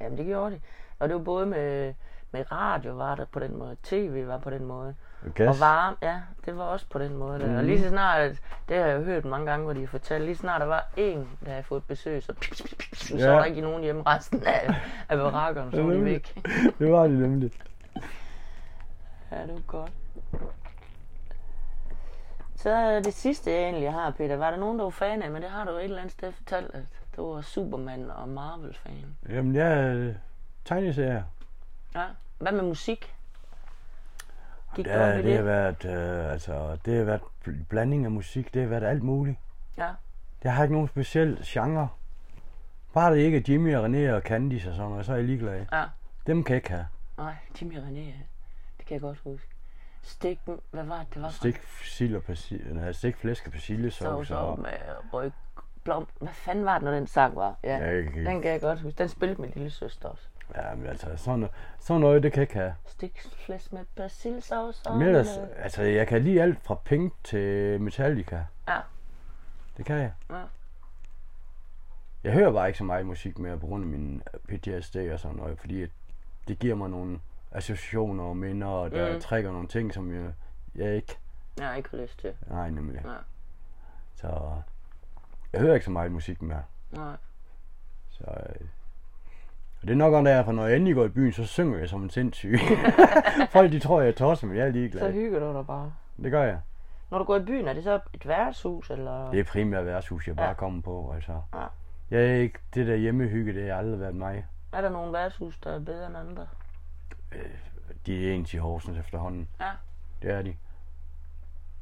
Jamen det gjorde det. Og det var både med, med radio var der på den måde, tv var på den måde, Gas. og varme, ja, det var også på den måde. Der. Og lige Mm-hmm. så snart, at- det har jeg jo hørt mange gange, hvor de har fortalt, lige så snart der var en, der havde fået besøg, så, pip, pip, pip, så Ja. var der ikke nogen hjemme resten af, af barakkerne, så var de væk. Det var det nemlig. Ja, det var godt. Så det sidste, jeg egentlig har, Peter, var der nogen, der var fan af, men det har du jo et eller andet sted fortalt, at du var Superman og Marvel-fan. Jamen, jeg er tegneserier. Ja. Hvad med musik? Gik du op Ja, i det har været, øh, altså, det har været bl- blanding af musik, det har været alt muligt. Ja. Jeg har ikke nogen speciel genre. Bare det ikke er Jimmy og René og Candice og sådan noget, så er jeg ligeglad. Ja. Dem kan jeg ikke have. Nej, Jimmy René, ja. det kan jeg godt huske. Stik, hvad var det, det var? for- Stik sild og persille, nej, stik flæsk og persillesovs Sovs op og... med ryg, blom. Hvad fanden var det, når den sang var? Ja, Ja, jeg kan- den kan jeg godt huske. Den spillede min lille søster også. Ja, men altså, sådan, noget- sådan noget, det kan jeg ikke have. Stik flæs med persillesovs og... Men ellers, noget. altså, jeg kan lide alt fra Pink til Metallica. Ja. Det kan jeg. Ja. Jeg hører bare ikke så meget musik mere på grund af min PTSD og sådan noget, fordi at det giver mig nogle associationer og minder, der Mm. mm. trækker nogle ting, som jeg, jeg ikke... Jeg har ikke lyst til. Nej, nemlig. Nej. Så jeg hører ikke så meget musik mere. Nej. Så, øh, og det er nok også derfor, når jeg endelig går i byen, så synger jeg som en (laughs) sindssyg. Folk de tror, jeg er tosset, men jeg er Så ligeglad. hygger du dig bare. Det gør jeg. Når du går i byen, er det så et værtshus, eller? Det er primært værtshus, jeg bare Ja. kommer på. Altså. Ja. Jeg er ikke, det der hjemmehygge, det har aldrig været mig. Er der nogle værtshus, der er bedre end andre? De er ens i Horsens efterhånden. Ja. Det er de.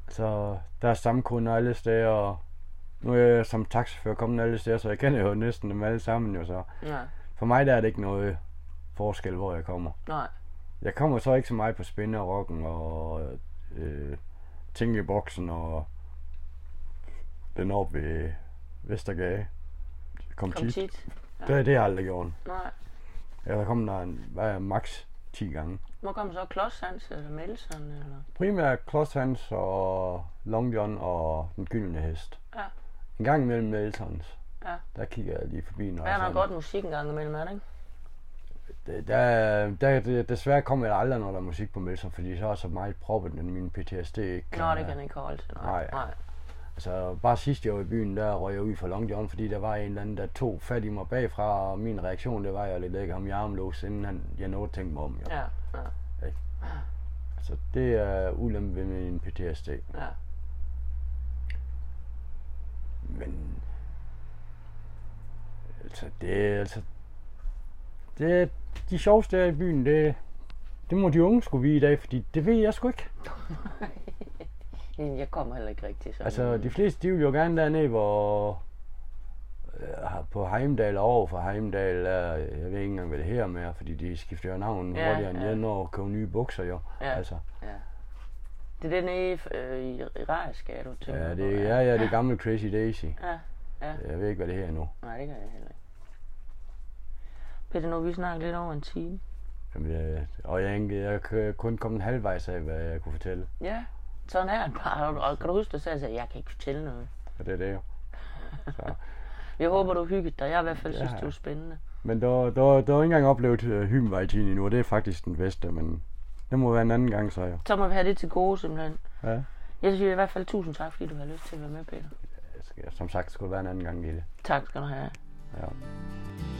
Så der er stamkunder alle steder, og nu er jeg som taxafører kommet alle steder, så jeg kender jo næsten dem alle sammen. Jo, så. Nej. For mig der er det ikke noget forskel, hvor jeg kommer. Nej. Jeg kommer så ikke så meget på spænderokken og øh, tænkeboksen og den op ved Vestergade. Kom, Kom tit. tit. Det, det har jeg aldrig gjort. Nej. Jeg er kommet der en, hvad er, max 10 gange. Hvor kommer så Klodshands eller Melson eller? Primært Klods Hans og Long John og Den Gyldne Hest. Ja. En gang imellem Meltons. Ja. Der kigger jeg lige forbi, når Der jeg er nok sådan- godt musik en gang imellem, er det ikke? der, der, der, desværre kommer jeg aldrig, når der er musik på Melson, fordi så er så meget proppet, at min PTSD ikke Nå, det kan jeg ikke holde til. Nej. Nej. Nej. Så bare sidst jeg var i byen, der røg jeg ud for Long John, fordi der var en eller anden, der tog fat i mig bagfra, og min reaktion, det var, at jeg lidt lægger ham i armlås, inden han, jeg nåede at tænke mig om. Jo. Ja. Ja. Så det er ulempe ved min PTSD. Ja. Men... Altså, det er altså... Det er de sjoveste her i byen, det, det må de unge skulle vide i dag, fordi det ved jeg sgu ikke. Jamen, Jeg kommer heller ikke rigtig sådan. Altså, de fleste, de vil jo gerne dernede, hvor øh, på Heimdal og over for Heimdal, er, jeg ved ikke engang, hvad det her med, fordi de skifter jo navn Ja, ja, hurtigere, end ja. jeg når at købe nye bukser jo. Ja. Altså, Det er den nede øh, i, i Rejerskade, du tænker ja, på, det, ja, ja, det gamle Crazy Daisy. Ja. Jeg ved ikke, hvad det her er nu. Nej, det kan jeg heller ikke. Peter, nu har vi snakker lidt over en time. Jamen, jeg, og jeg, er ikke- jeg er kun kommet halvvejs af, hvad jeg kunne fortælle. Ja. Sådan er det bare. Og kan du huske, du sagde, at jeg kan ikke fortælle noget. Og det er det jo. Jeg håber, du hyggede dig. Jeg har i hvert fald ja. synes, Ja. det var spændende. Men der, der, der er ikke engang oplevet øh, Hybenvejtiden endnu, og det er faktisk den bedste, men det må være en anden gang, så jo. Så må vi have det til gode, simpelthen. Ja. Jeg siger i hvert fald tusind tak, fordi du har lyst til at være med, Peter. Jeg skal- Som sagt, skulle det være en anden gang i det. Tak skal du have. Ja.